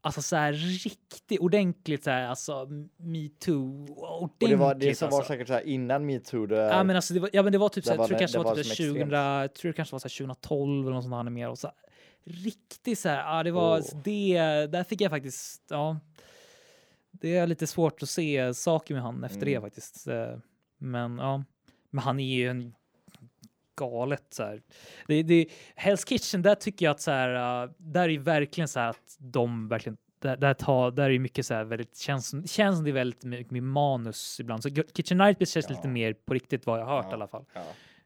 S2: Alltså så här riktigt ordentligt så här, alltså metoo, ordentligt
S1: Och det var det som
S2: alltså.
S1: var säkert så här innan metoo. där-
S2: Ja men, alltså, det var, ja men det var typ
S1: eh, Det
S2: så här,
S1: var när-
S2: jag tror det kanske
S1: det
S2: var
S1: var
S2: typ så
S1: som
S2: här 2000, jag tror det kanske var så här 2012 eller något sånt han är med och så här, riktigt så här, ja det var
S1: Oh.
S2: det, där fick jag faktiskt, ja. Det är lite svårt att se saker med han efter det
S1: Mm.
S2: faktiskt. Eh, Men ja, men han är ju en galet så här. Det, det, Hell's Kitchen, där tycker jag att så här, eh, där är ju verkligen så här att de verkligen där, där, tar, där är ju mycket så här väldigt, känns, känns som det är väldigt mycket med manus ibland. Så Kitchen Nightmares känns
S1: Ja.
S2: lite mer på riktigt vad jag har hört
S1: Ja.
S2: i alla fall.
S1: Ja.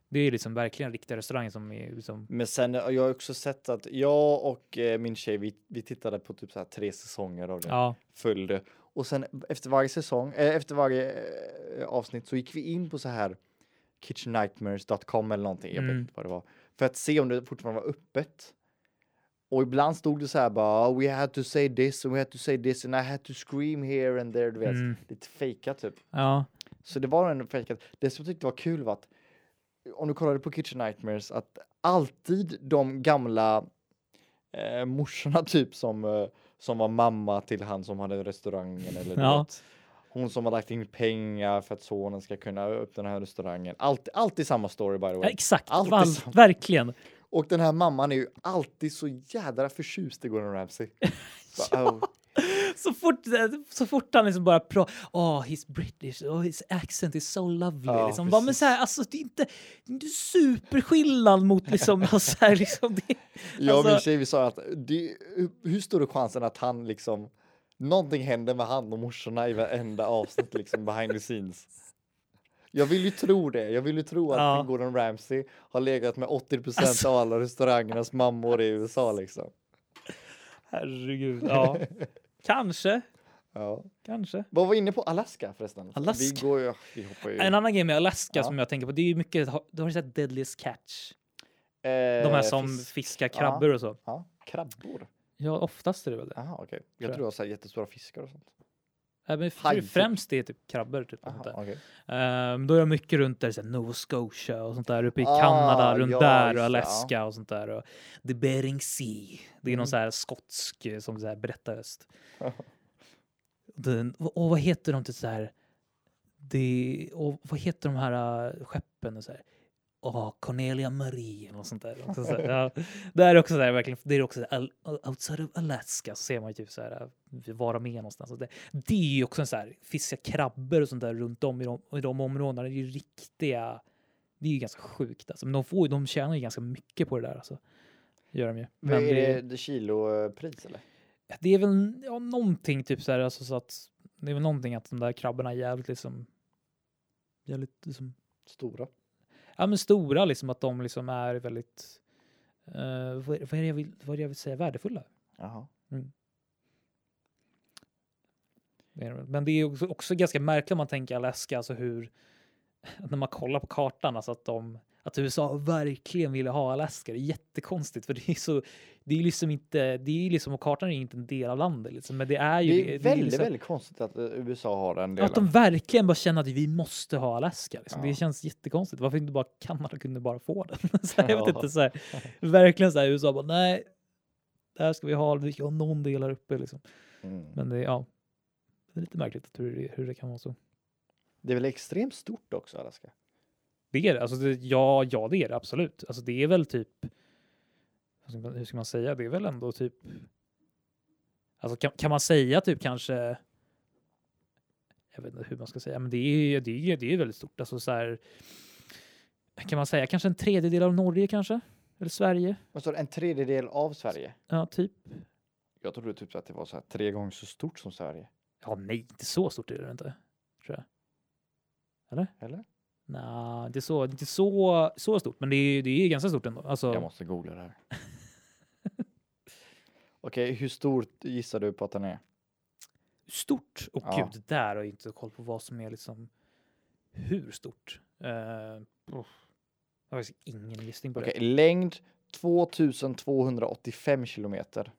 S2: Det är liksom verkligen riktiga restauranger som är liksom,
S1: Men sen jag har också sett att jag och eh, min tjej, vi, vi tittade på typ så här tre säsonger av det.
S2: ja,
S1: följde. Och sen efter varje säsong, eh, efter varje eh, avsnitt så gick vi in på så här kitchennightmares.com eller någonting, jag vet
S2: Mm.
S1: inte vad det var, för att se om det fortfarande var öppet. Och ibland stod det så här bara "Oh, we had to say this and we had to say this and I had to scream here and there, du vet.
S2: Mm.
S1: Lite fejkat typ.
S2: ja,
S1: Så det var ändå fejkat. Det som jag tyckte var kul var att om du kollade på Kitchen Nightmares att alltid de gamla eh, morsorna typ som, eh, som var mamma till han som hade restaurangen eller du
S2: Ja.
S1: vet, hon som har lagt in pengar för att sonen ska kunna öppna den här restaurangen. Allt, alltid samma story by the
S2: ja
S1: way.
S2: exakt,
S1: Allt liksom. är
S2: val,
S1: sant.
S2: verkligen.
S1: Och den här mamman är ju alltid så jädra förtjust i Gordon Ramsay. Så, oh,
S2: Så fort, så fort han liksom bara pratar, oh he's British, oh his accent is so lovely.
S1: Ja,
S2: liksom. bara, men
S1: precis.
S2: så här, alltså det är inte, det är inte superskillnad mot liksom, så här, liksom det,
S1: Jag och min
S2: Alltså-
S1: tjej vi sa att det, hur stor är chansen att han liksom någonting händer med han och morsorna i varenda avsnitt liksom behind the scenes. Jag vill ju tro det. Jag vill ju tro att
S2: Ja.
S1: Gordon Ramsay har legat med 80
S2: Alltså.
S1: av alla restaurangernas mammor i USA liksom.
S2: herregud, ja. kanske,
S1: Ja.
S2: kanske.
S1: Vad var vi inne på Alaska förresten? Vi
S2: Alaska.
S1: går ju, vi hoppar ju.
S2: En annan grej med Alaska
S1: Ja.
S2: som jag tänker på, det är ju mycket, har du har ju sett Deadliest Catch?
S1: Eh,
S2: De här som
S1: fisk-
S2: fiskar krabbor och så.
S1: Ja, krabbor.
S2: Ja, oftast är det väl det.
S1: Jaha, okej.
S2: Tror
S1: Jag
S2: jag.
S1: tror det var så här jättestora fiskar och sånt.
S2: Nej, men jag
S1: Haj,
S2: tror
S1: typ.
S2: främst det är typ krabbor. Typ, och
S1: Aha,
S2: sånt där.
S1: okej.
S2: Ehm, då är jag mycket runt där, så här Nova Scotia och sånt där uppe i
S1: Ah,
S2: Kanada, runt
S1: ja,
S2: där
S1: just det,
S2: och
S1: ja.
S2: Alaska och sånt där. Och The Bering Sea. Det är
S1: Mm.
S2: någon så här skotsk eh, som så här berättarröst. Den, och vad heter de till så här? Det, och vad heter de här eh, skeppen? Och så här? Åh, Cornelia Marie eller något sånt där. Också så här, ja. Det är också så här, verkligen, det är också så här, al- outside of Alaska så ser man ju typ så här, eh, vara med någonstans. Och det, det är ju också en så här, fiska krabbor och sånt där runt om i de, i de områdena. Det är ju riktiga, det är ju ganska sjukt alltså. Men de, får, ju- de tjänar ju ganska mycket på det där alltså. Gör de ju.
S1: Men
S2: Men
S1: är det, det kilopris eller?
S2: det är väl ja, någonting typ så här, alltså, så att det är väl någonting att de där krabborna är jävligt liksom jävligt liksom
S1: Stora.
S2: ja men stora liksom att de liksom är väldigt eh, vad, vad är det jag vill vad är det jag vill säga värdefulla
S1: Jaha.
S2: Det är det väl. men det är också, också ganska märkligt om man tänker Alaska alltså hur att när man kollar på kartan alltså att de att USA verkligen ville ha Alaska det är jättekonstigt för det är så det är liksom inte det är liksom och kartan är inte en del av landet liksom men det är ju
S1: Det är väldigt,
S2: liksom-
S1: väldigt konstigt att eh, USA har den
S2: Ja,
S1: delen.
S2: Att de verkligen bara känner att vi måste ha Alaska. Liksom.
S1: Ja.
S2: Det känns jättekonstigt. Varför inte bara Kanada kunde bara få den? så här, jag vet
S1: Ja.
S2: inte. Så här, verkligen så här USA bara nej, det här ska vi ha. Vi ska ha någon del här uppe liksom.
S1: Mm.
S2: Men det, ja, det är lite märkligt hur det, hur det kan vara så.
S1: Det är väl extremt stort också, Alaska?
S2: Det är det. Alltså, det, ja, ja, det är det absolut. Alltså, det är väl typ. vad ska man- Hur ska man säga? Det är väl ändå typ. Alltså kan, kan man säga typ kanske. Jag vet inte hur man ska säga, men det är det är, det är väldigt stort. Alltså så här. Kan man säga kanske en tredjedel av Norge kanske? Eller Sverige?
S1: Vad står det, en tredjedel av Sverige?
S2: Ja, typ.
S1: Jag trodde typ att det var så här tre gånger så stort som Sverige.
S2: Ja, nej, inte så stort är det inte. Tror jag.
S1: Eller?
S2: Nej, det är så, inte så, så stort, men det är, det är ganska stort ändå. Alltså,
S1: Jag måste googla det här. Okej, hur stort gissar du på att den är?
S2: stort. Och
S1: Ja.
S2: gud, där har jag inte koll på vad som är liksom hur stort. Eh, jag har faktiskt ingen gissning på
S1: Okej, längd 2285 kilometer.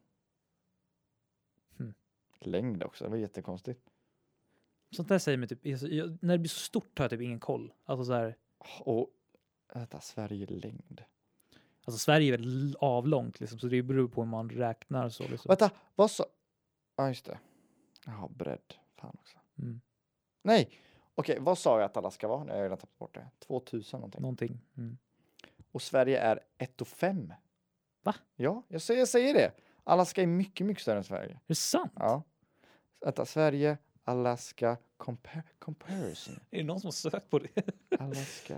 S2: Hmm.
S1: Längd också, det var jättekonstigt.
S2: det. Sånt där säger mig typ, alltså, jag, när det blir så stort har jag typ ingen koll. Alltså så här,
S1: Och vänta, Sverige längd.
S2: alltså Sverige är väldigt avlångt liksom, så det beror på hur man räknar och så. Liksom.
S1: Vänta, vad sa... Ja, just det. Jaha, bredd. Fan också.
S2: Mm,
S1: Nej! Okej, vad sa jag att Alaska var? Nu har jag redan tappat bort det. 2000 någonting.
S2: någonting. Mm.
S1: Och Sverige är 1 och 5.
S2: Va?
S1: Ja, jag säger, jag säger det. Alaska är mycket, mycket större än Sverige.
S2: Är det sant?
S1: Ja. Vänta, Sverige, Alaska, compar comparison.
S2: Är det någon som har sökt på det?
S1: Alaska.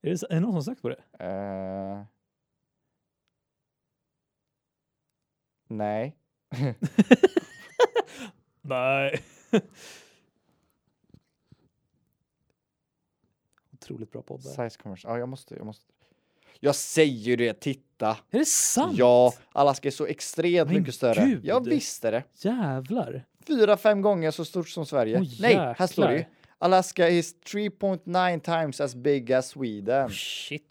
S2: är, det, är det någon som har sökt på det?
S1: Eh. Nej.
S2: Nej. otroligt bra poddar.
S1: Size commerce. Ja, jag måste, jag måste. Jag säger ju det, titta.
S2: Är det sant?
S1: Ja, Alaska är så extremt
S2: Men
S1: mycket större.
S2: gud.
S1: Jag visste det.
S2: Jävlar.
S1: Fyra, fem gånger så stort som Sverige.
S2: Åh,
S1: Nej, här står det ju.
S2: jäklar.
S1: Alaska is 3.9 times as big as Sweden.
S2: Shit.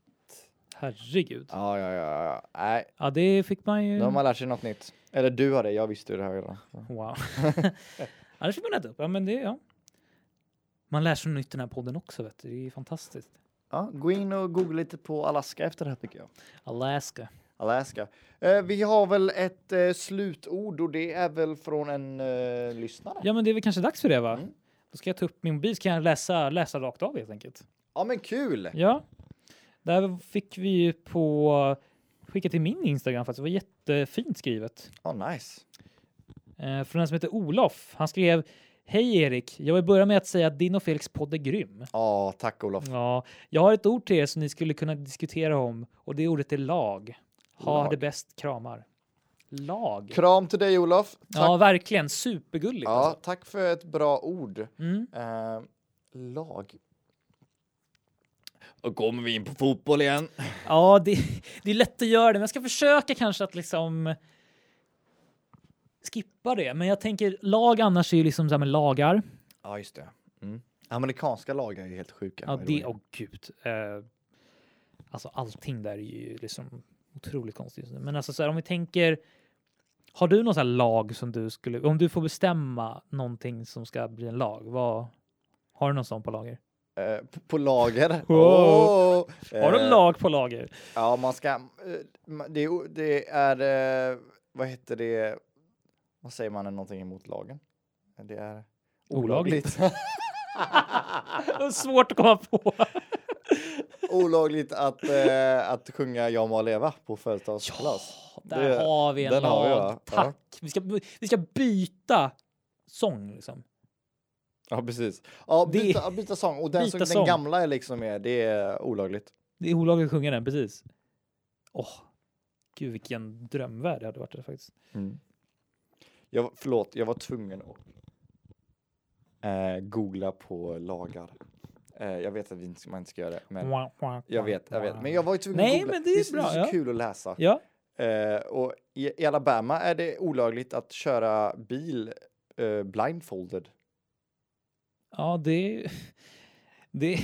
S2: Herregud.
S1: Ja, ja, ja, ja. Nej,
S2: Ja, det fick man ju.
S1: nu har man lärt sig något nytt. Eller du har det, jag visste ju det här redan.
S2: Wow. Annars fick man äta upp. Ja, men det, ja. Man lär sig något nytt i den här podden också, vet du. Det är ju fantastiskt.
S1: Ja, gå in och googla lite på Alaska efter det här tycker jag.
S2: Alaska.
S1: Alaska. Eh, vi har väl ett eh, slutord och det är väl från en eh, lyssnare.
S2: Ja, men det är väl kanske dags för det, va?
S1: Mm.
S2: Då ska jag ta upp min mobil, så kan jag läsa, läsa rakt av helt enkelt.
S1: Ja, men kul!
S2: Ja. Där fick vi ju på skicka till min Instagram faktiskt. Det var jättefint skrivet.
S1: Ja, nice.
S2: Eh, från en som heter Olof. Han skrev Hej Erik, jag vill börja med att säga att din och Felix podd är grym.
S1: Ja, tack Olof.
S2: Ja, jag har ett ord till er som ni skulle kunna diskutera om och det ordet är lag. Ha
S1: Lag.
S2: det bäst, kramar. Lag.
S1: Kram till dig Olof. Tack.
S2: Ja, verkligen. Supergulligt.
S1: ja,
S2: Alltså.
S1: tack för ett bra ord.
S2: Mm.
S1: Eh, lag. Och kommer vi in på fotboll igen.
S2: Ja, det, det är lätt att göra det, men jag ska försöka kanske att liksom skippa det. Men jag tänker lag annars är ju liksom så här med lagar.
S1: Ja, just det. Mm. Amerikanska lagen är ju helt sjuka.
S2: Ja,
S1: by the
S2: det,
S1: way.
S2: åh gud. Eh, alltså allting där är ju liksom otroligt konstigt. just nu. Men alltså så här, om vi tänker, har du någon sån här lag som du skulle, om du får bestämma någonting som ska bli en lag, vad, har du någon sån på lager?
S1: Eh, på, på lager.
S2: Wow.
S1: Åh!
S2: Har du
S1: Eh,
S2: en lag på lager?
S1: Ja, man ska... eh, ma- Det, är o- det är... eh, Vad heter det? Vad säger man när någonting är emot lagen? Det är...
S2: Olagligt. Det är svårt att komma på.
S1: Olagligt att, eh, att sjunga Jag må leva på födelsedagskalas.
S2: Där
S1: Det-
S2: har vi en
S1: den
S2: lag.
S1: har vi, va? Ja.
S2: Tack. Vi, ska, vi ska byta sång liksom.
S1: Ja, precis. Ja,
S2: Det-
S1: byta, ja, byta sång. Och den,
S2: Byta
S1: som, den
S2: sång.
S1: gamla är liksom är, det är olagligt.
S2: Det är olagligt att sjunga den, precis. Åh, gud vilken drömvärld det hade varit det faktiskt.
S1: Jag, var- förlåt, jag var tvungen att eh, googla på lagar. Eh, jag vet att vi inte, man inte ska göra det, men
S2: Wah, wah,
S1: jag
S2: wah,
S1: vet, jag vet.
S2: wah.
S1: Men jag var ju tvungen
S2: Nej,
S1: att googla.
S2: men det är
S1: så-
S2: bra,
S1: så
S2: ja.
S1: kul att läsa.
S2: Ja,
S1: Eh, och i, i Alabama är det olagligt att köra bil eh, blindfolded.
S2: ja det... det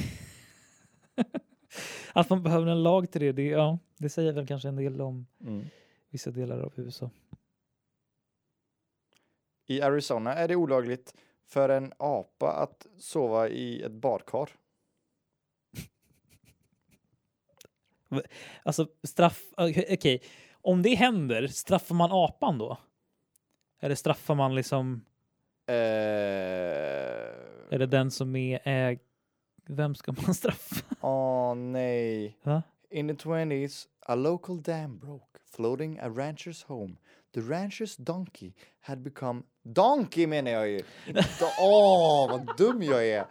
S2: att man behöver en lag till det, det, ja, det säger väl kanske en del om vissa delar av USA.
S1: I Arizona är det olagligt för en apa att sova i ett badkar.
S2: Alltså straff... Okej, okej. om det händer, straffar man apan då? Eller straffar man liksom...
S1: Eh,
S2: Är det den som är... Eh, vem ska man straffa?
S1: Åh nej.
S2: Va?
S1: In the 20s, a local dam broke, floating a rancher's home. The rancher's donkey had become... Donkey menar jag ju! Inte- Åh, vad dum jag är!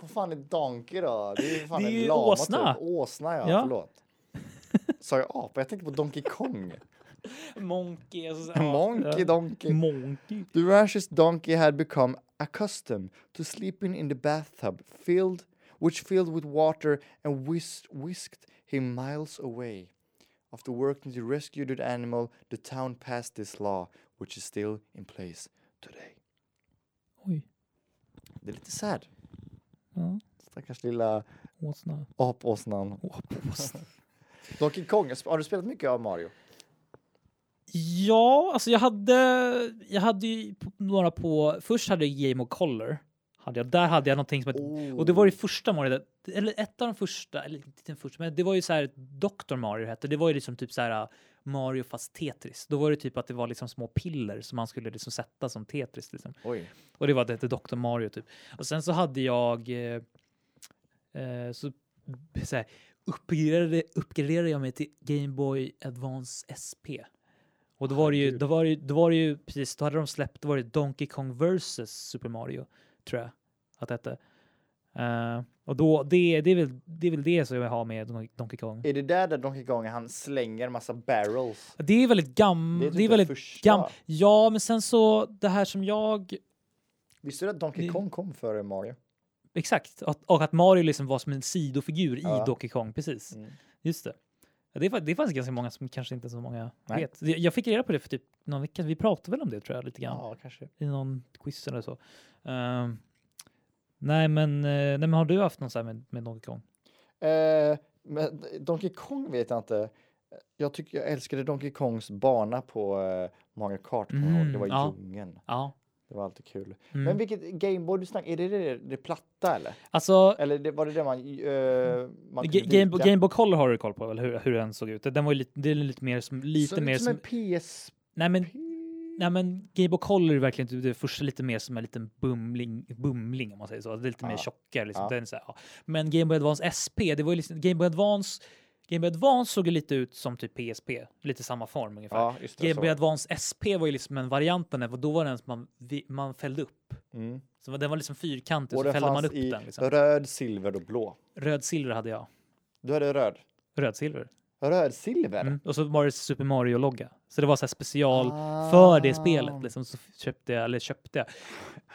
S1: Vad fan är donkey då? Det är ju fan
S2: Det är
S1: en
S2: ju
S1: lama
S2: åsna.
S1: typ. Åsna ja,
S2: Ja.
S1: förlåt. Sa jag apa? Jag tänkte på Donkey Kong.
S2: Monkey. Alltså,
S1: Monkey Donkey.
S2: Monkey.
S1: The rancher's donkey had become accustomed to sleeping in the bathtub filled which filled with water and whis- whisked him miles away. After working to rescue the animal, the town passed this law, which is still in place today.
S2: Oj.
S1: Det är lite sad.
S2: Ja,
S1: Stackars lilla
S2: åsna.
S1: apåsnan.
S2: Åsna.
S1: Donkey Kong, har du spelat mycket av Mario?
S2: Ja, alltså jag hade, jag hade ju p- några på... Först hade jag Game of Color. Hade jag, där hade jag någonting som ett, Och det var det första Mario, där- eller ett av de första, eller inte den första, men det var ju så här Dr. Mario hette. Det var ju liksom typ så här Mario fast Tetris. Då var det typ att det var liksom små piller som man skulle liksom sätta som Tetris. Liksom.
S1: Oj.
S2: Och det var att det hette Dr. Mario typ. Och sen så hade jag... Eh, eh, så, så här, uppgraderade, uppgraderade jag mig till Game Boy Advance SP. Och då var det ju, då var det, ju- då var det ju, precis, då hade de släppt, då var det Donkey Kong vs Super Mario, tror jag att det hette. Eh, och då, det, det, är väl, det är väl det som jag har med Don- Donkey Kong.
S1: Är det där där Donkey Kong han slänger en massa barrels?
S2: Det är väldigt gammalt. Mm, Det är,
S1: typ det
S2: väldigt
S1: första.
S2: gammalt. Ja, men sen så det här som jag
S1: Visste du att Donkey
S2: Det-
S1: Kong kom före Mario?
S2: Exakt, och, och att Mario liksom var som en sidofigur i
S1: Ja.
S2: Donkey Kong, precis.
S1: Mm.
S2: Just det. Ja, Det är, fa- det är faktiskt ganska många som kanske inte så många
S1: Nej.
S2: vet. Jag- Jag fick reda på det för typ någon vecka, vi pratade väl om det tror jag lite grann
S1: Ja, kanske.
S2: i någon quiz eller så. Ehm, nej, men, eh, nej, men har du haft någon så här med, med Donkey Kong?
S1: Eh, men Donkey Kong vet jag inte. Jag tycker jag älskade Donkey Kongs bana på eh, Mario Kart. kommer jag ihåg. Det
S2: Mm,
S1: var i
S2: ja.
S1: djungeln.
S2: Ja.
S1: Det var alltid kul.
S2: Mm.
S1: Men vilket Gameboy du snackar, är det det, det platta eller?
S2: alltså,
S1: Eller det, var det det man, eh, man
S2: Ga-
S1: kunde
S2: Game,
S1: vika?
S2: Game Boy Color har du koll på, eller hur, hur den såg ut? Den var ju lite, det är lite mer som... Lite
S1: Så,
S2: mer
S1: som
S2: som,
S1: en PSP?
S2: nej, men, nej, men Game Boy Color är verkligen typ det första lite mer som en liten bumling, bumling om man säger så. Det är lite mer
S1: Ja.
S2: tjockare. Liksom.
S1: Ja.
S2: Den är så här, ja. Men Game Boy Advance SP, det var ju liksom, Game Boy Advance... Game Boy Advance såg ju lite ut som typ PSP, lite samma form ungefär.
S1: Ja, just det.
S2: Game
S1: så.
S2: Boy Advance SP var ju liksom en variant på den, här, för då var den som man, vi- man fällde upp.
S1: Mm.
S2: Så den var liksom fyrkantig,
S1: Och
S2: så
S1: den
S2: fällde man
S1: fanns
S2: upp
S1: i
S2: den. Liksom.
S1: röd, silver och blå.
S2: Röd silver hade jag.
S1: Du hade röd.
S2: Röd silver.
S1: Röd silver?
S2: Mm. Och så var det Super Mario-logga. Så det var så här special för det
S1: Ah.
S2: spelet. Liksom, så f- köpte jag, eller köpte jag.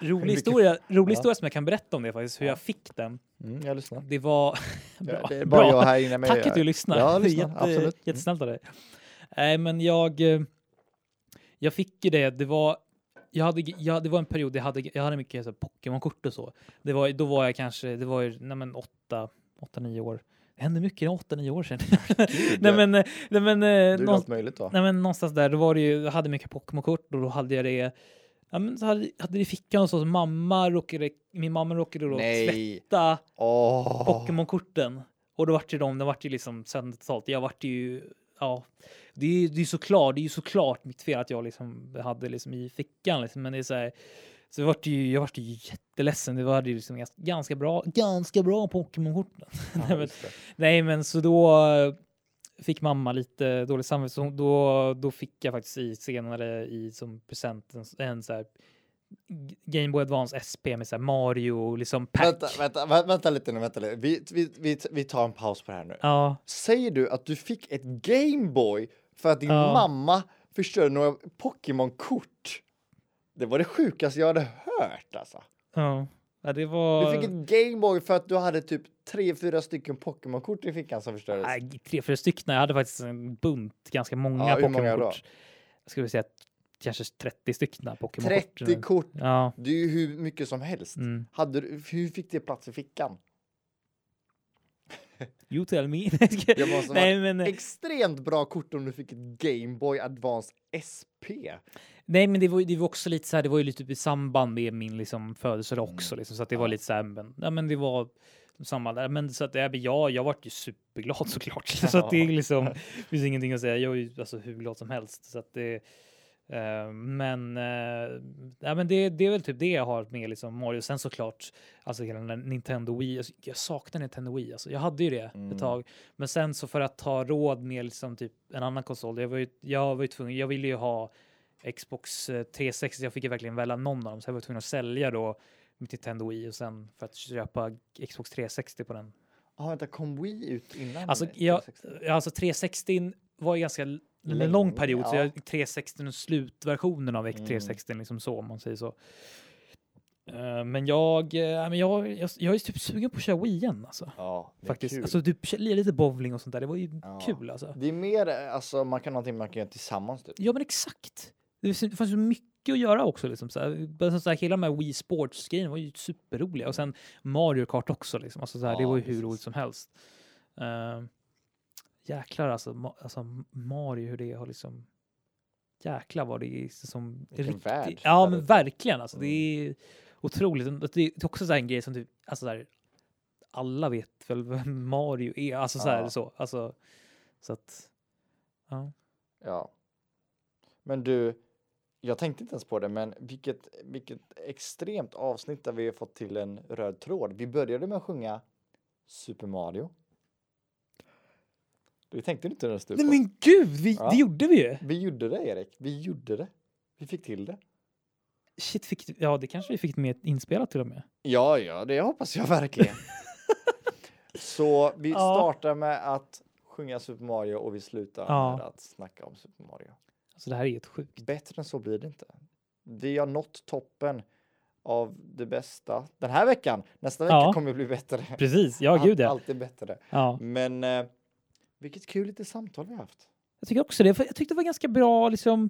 S2: Rolig,
S1: Mycket-
S2: historia, rolig
S1: Ja.
S2: historia som jag kan berätta om det faktiskt, hur
S1: Ja.
S2: jag fick den.
S1: Mm, jag lyssnar.
S2: Det var... bra.
S1: Ja, det är bara
S2: bra.
S1: jag här inne. eh, men
S2: Tack
S1: jag-
S2: att du lyssnar.
S1: Ja, jag
S2: Det är
S1: lyssnar, absolut. Mm.
S2: Jättesnällt av dig. Nej, men jag, eh, jag fick ju det. Det var, jag hade, jag, det var en period jag hade, jag hade mycket så här Pokémon-kort och så. Det var, då var jag kanske, det var ju nej, men åtta, åtta, nio år. Det hände mycket åtta, nio år sedan. nej, men, eh, nej, men, eh,
S1: Du är
S2: någon,
S1: allt möjligt då.
S2: nej, men någonstans där, då var det ju, jag hade mycket Pokémon-kort och då hade jag det Ja, men så hade, hade det i fickan och så, så mamma råkade, min mamma råkade då
S1: Nej.
S2: tvätta
S1: Åh.
S2: Pokémon-korten. Och då vart ju de, de vart ju liksom sönder totalt. Jag vart ju, ja. Det är ju det är såklart, det är ju såklart mitt fel att jag liksom hade liksom i fickan liksom. Men det är så här, så jag vart ju, jag vart ju jätteledsen. Det var ju liksom ganska, ganska bra, ganska bra Pokémon-korten.
S1: Ja,
S2: men-
S1: just det.
S2: Nej, men så då eh, fick mamma lite dåligt samvete. Så hon- då, då fick jag faktiskt i senare i som present en, en så här G- Game Boy Advance SP med så här Mario och liksom pack.
S1: Vänta, vänta, vä- vänta lite nu, vänta lite. Vi, vi, vi, vi tar en paus på det här nu.
S2: Ja,
S1: Säger du att du fick ett Gameboy för att din
S2: Ja.
S1: mamma förstörde några Pokémon-kort? Det var det sjukaste jag hade hört alltså.
S2: ja. Ja, det var...
S1: Du fick ett Gameboy för att du hade typ tre, fyra stycken Pokémon-kort i fickan som förstördes.
S2: Nej, tre, fyra stycken. Jag hade faktiskt en bunt, ganska många
S1: Ja, hur många då?
S2: Pokémon-kort. Jag skulle säga att kanske 30 stycken Pokémon-kort.
S1: 30 kort,
S2: Ja.
S1: det är ju hur mycket som helst.
S2: Mm.
S1: Hade du, hur fick det plats i fickan?
S2: You tell me.
S1: Jag måste ha
S2: nej, men, eh,
S1: Extremt bra kort om du fick ett Gameboy Advance SP.
S2: nej, men det var, ju- det var också lite så här. Det var ju lite typ i samband med min liksom, födelsedag också, liksom, så att det var
S1: Mm. Ja.
S2: lite så här. Men, ja, men det var samma där. Men så att det- ja, men jag, jag vart ju superglad såklart. Så att det är
S1: Ja.
S2: liksom finns ingenting att säga. Jag är ju alltså hur glad som helst så att det. eh, men eh, ja, men det, det är väl typ det jag har med liksom Mario. Sen såklart alltså hela den där Nintendo Wii. Alltså, jag saknar Nintendo Wii. Alltså, jag hade ju det
S1: Mm.
S2: ett tag, men sen så för att ha råd med liksom typ en annan konsol. Jag var ju, jag var ju tvungen. Jag ville ju ha Xbox eh, 360. Jag fick ju verkligen välja någon av dem, så jag var tvungen att sälja då mitt Nintendo Wii och sen för att köpa Xbox 360 på den
S1: Ah, vänta, kom Wii ut innan?
S2: Alltså, jag,
S1: 360?
S2: alltså 360 var ju ganska l-
S1: Länge,
S2: lång period, så
S1: ja.
S2: jag 360 och slutversionen av
S1: Mm.
S2: 360 liksom så om man säger så. Eh, Men jag, eh, men jag, jag, jag är typ sugen på att köra Wii igen alltså.
S1: Ja, det är
S2: Faktiskt.
S1: kul.
S2: Alltså typ kö- lira lite bowling och sånt där. Det var ju
S1: Ja.
S2: kul alltså.
S1: Det är mer, alltså man kan någonting man kan göra tillsammans typ.
S2: Ja men exakt. Det finns- det fanns ju mycket att göra också liksom. Så här, Bara så här, hela de här Wii Sports-grejen var ju superroliga. Och sen Mario Kart också liksom. Alltså, så här, det
S1: Ja,
S2: var ju
S1: precis.
S2: hur roligt som helst. Eh, jäklar alltså, ma- alltså Mario hur det har liksom. Jäklar vad det är liksom, som.
S1: Vilken
S2: riktig-
S1: värld mm.
S2: Ja
S1: där
S2: men
S1: ute.
S2: verkligen alltså. Det är otroligt. Och Det är också så här en grej som typ, alltså så här, alla vet väl vem Mario är. Alltså så här
S1: Ja.
S2: så. Alltså, så att. Ja.
S1: Ja. Men du, jag tänkte inte ens på det, men vilket, vilket extremt avsnitt där vi har fått till en röd tråd. Vi började med att sjunga Super Mario. Det tänkte du inte när du
S2: Nej men gud, vi,
S1: Ja.
S2: det gjorde vi ju!
S1: Vi gjorde det Erik, vi gjorde det. Vi fick till det.
S2: Shit, fick, ja det kanske vi fick med inspelat till och med.
S1: Ja, ja, det hoppas jag verkligen. Så vi
S2: Ja.
S1: startar med att sjunga Super Mario och vi slutar
S2: Ja.
S1: med att snacka om Super Mario.
S2: Alltså det här är helt sjukt.
S1: Bättre än så blir det inte. Vi har nått toppen av det bästa den här veckan. Nästa vecka
S2: Ja.
S1: kommer ju bli bättre.
S2: Precis, ja gud ja.
S1: Allt är bättre.
S2: ja.
S1: Men eh, vilket kul lite samtal vi har haft.
S2: Jag tycker också det. för Jag tyckte det var ganska bra liksom.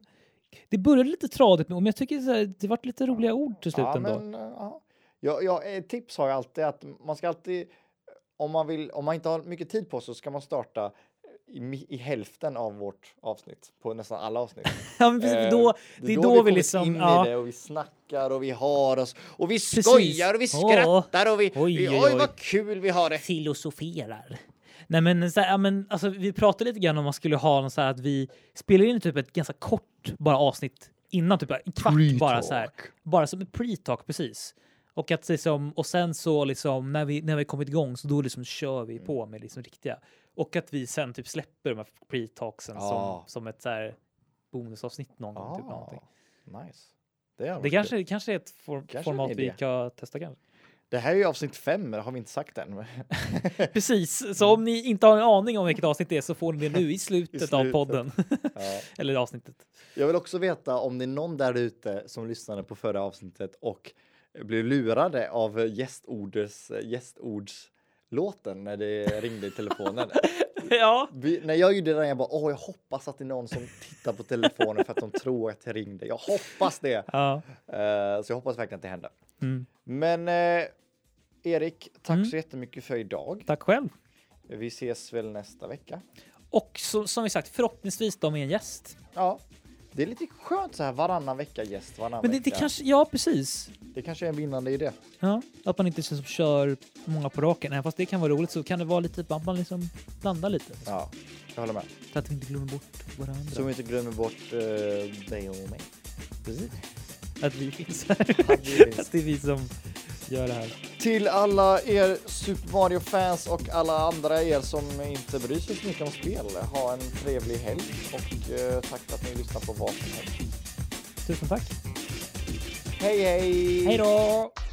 S2: Det började lite tradigt med ord, men jag tycker så här, det vart lite roliga ord till slut
S1: Ja,
S2: ändå.
S1: men, eh, ja. Jag, jag, ett tips har jag alltid att man ska alltid, eh, om man, vill, om man inte har mycket tid på sig så ska man starta eh, i, mi- i hälften av vårt avsnitt, på nästan alla avsnitt.
S2: Ja, men precis,
S1: Eh,
S2: då, det är då, vi,
S1: kommer
S2: liksom...
S1: in
S2: ja.
S1: i det och vi snackar och vi har oss och vi
S2: Precis.
S1: skojar och vi
S2: Åh.
S1: skrattar och vi,
S2: Oj,
S1: vi
S2: oj,
S1: oj,
S2: oj.
S1: vad kul vi har det.
S2: filosoferar. Nej men, så här, ja, men alltså, vi pratade lite grann om man skulle ha någon så här att vi spelar in typ ett ganska kort bara avsnitt innan, typ en kvart bara så här.
S1: Pre-talk.
S2: Bara som ett pre-talk precis. Och, att, liksom, och sen så liksom när vi, när vi kommit igång så då liksom kör
S1: Mm.
S2: vi på med liksom riktiga. Och att vi sen typ släpper de här pre-talksen
S1: Ja.
S2: som, som ett så här bonusavsnitt någon gång. Typ, någonting.
S1: Ah, nice. Det, är
S2: Det kanske, kanske är ett for,
S1: Kanske en
S2: format vi
S1: idé.
S2: kan testa kanske.
S1: det här är ju avsnitt fem, det har vi inte sagt än.
S2: Precis, så om ni inte har en aning om vilket avsnitt det är så får ni det nu i slutet, av
S1: slutet.
S2: podden.
S1: ja.
S2: Eller i avsnittet.
S1: Jag vill också veta om det är någon där ute som lyssnade på förra avsnittet och blev lurade av gästorders, gästordslåten när det ringde i telefonen.
S2: ja,
S1: Vi, när jag gjorde den, jag bara åh, jag hoppas att det är någon som tittar på telefonen för att de tror att jag ringde. Jag hoppas det!
S2: ja.
S1: Eh, så jag hoppas verkligen att det händer.
S2: Mm.
S1: Men eh, Erik, tack
S2: Mm.
S1: så jättemycket för idag.
S2: tack själv.
S1: Vi ses väl nästa vecka.
S2: Och så, som vi sagt, förhoppningsvis då med en gäst.
S1: Ja, det är lite skönt så här varannan vecka gäst, varannan
S2: Men det, det
S1: vecka.
S2: kanske, ja precis.
S1: det kanske är en vinnande idé.
S2: Ja, att man inte känns som kör många på raken. Även fast det kan vara roligt så kan det vara lite att man liksom blandar lite.
S1: Ja, jag håller med.
S2: Så att vi inte glömmer bort varandra.
S1: Så vi inte glömmer bort eh, dig och mig.
S2: Precis. Att vi finns här.
S1: Att vi finns.
S2: att det är vi som gör det här.
S1: Till alla er Super Mario-fans och alla andra er som inte bryr sig så mycket om spel. Ha en trevlig helg och eh, tack för att ni lyssnar på vad som helst.
S2: Tusen tack.
S1: Hej hej!
S2: Hej då!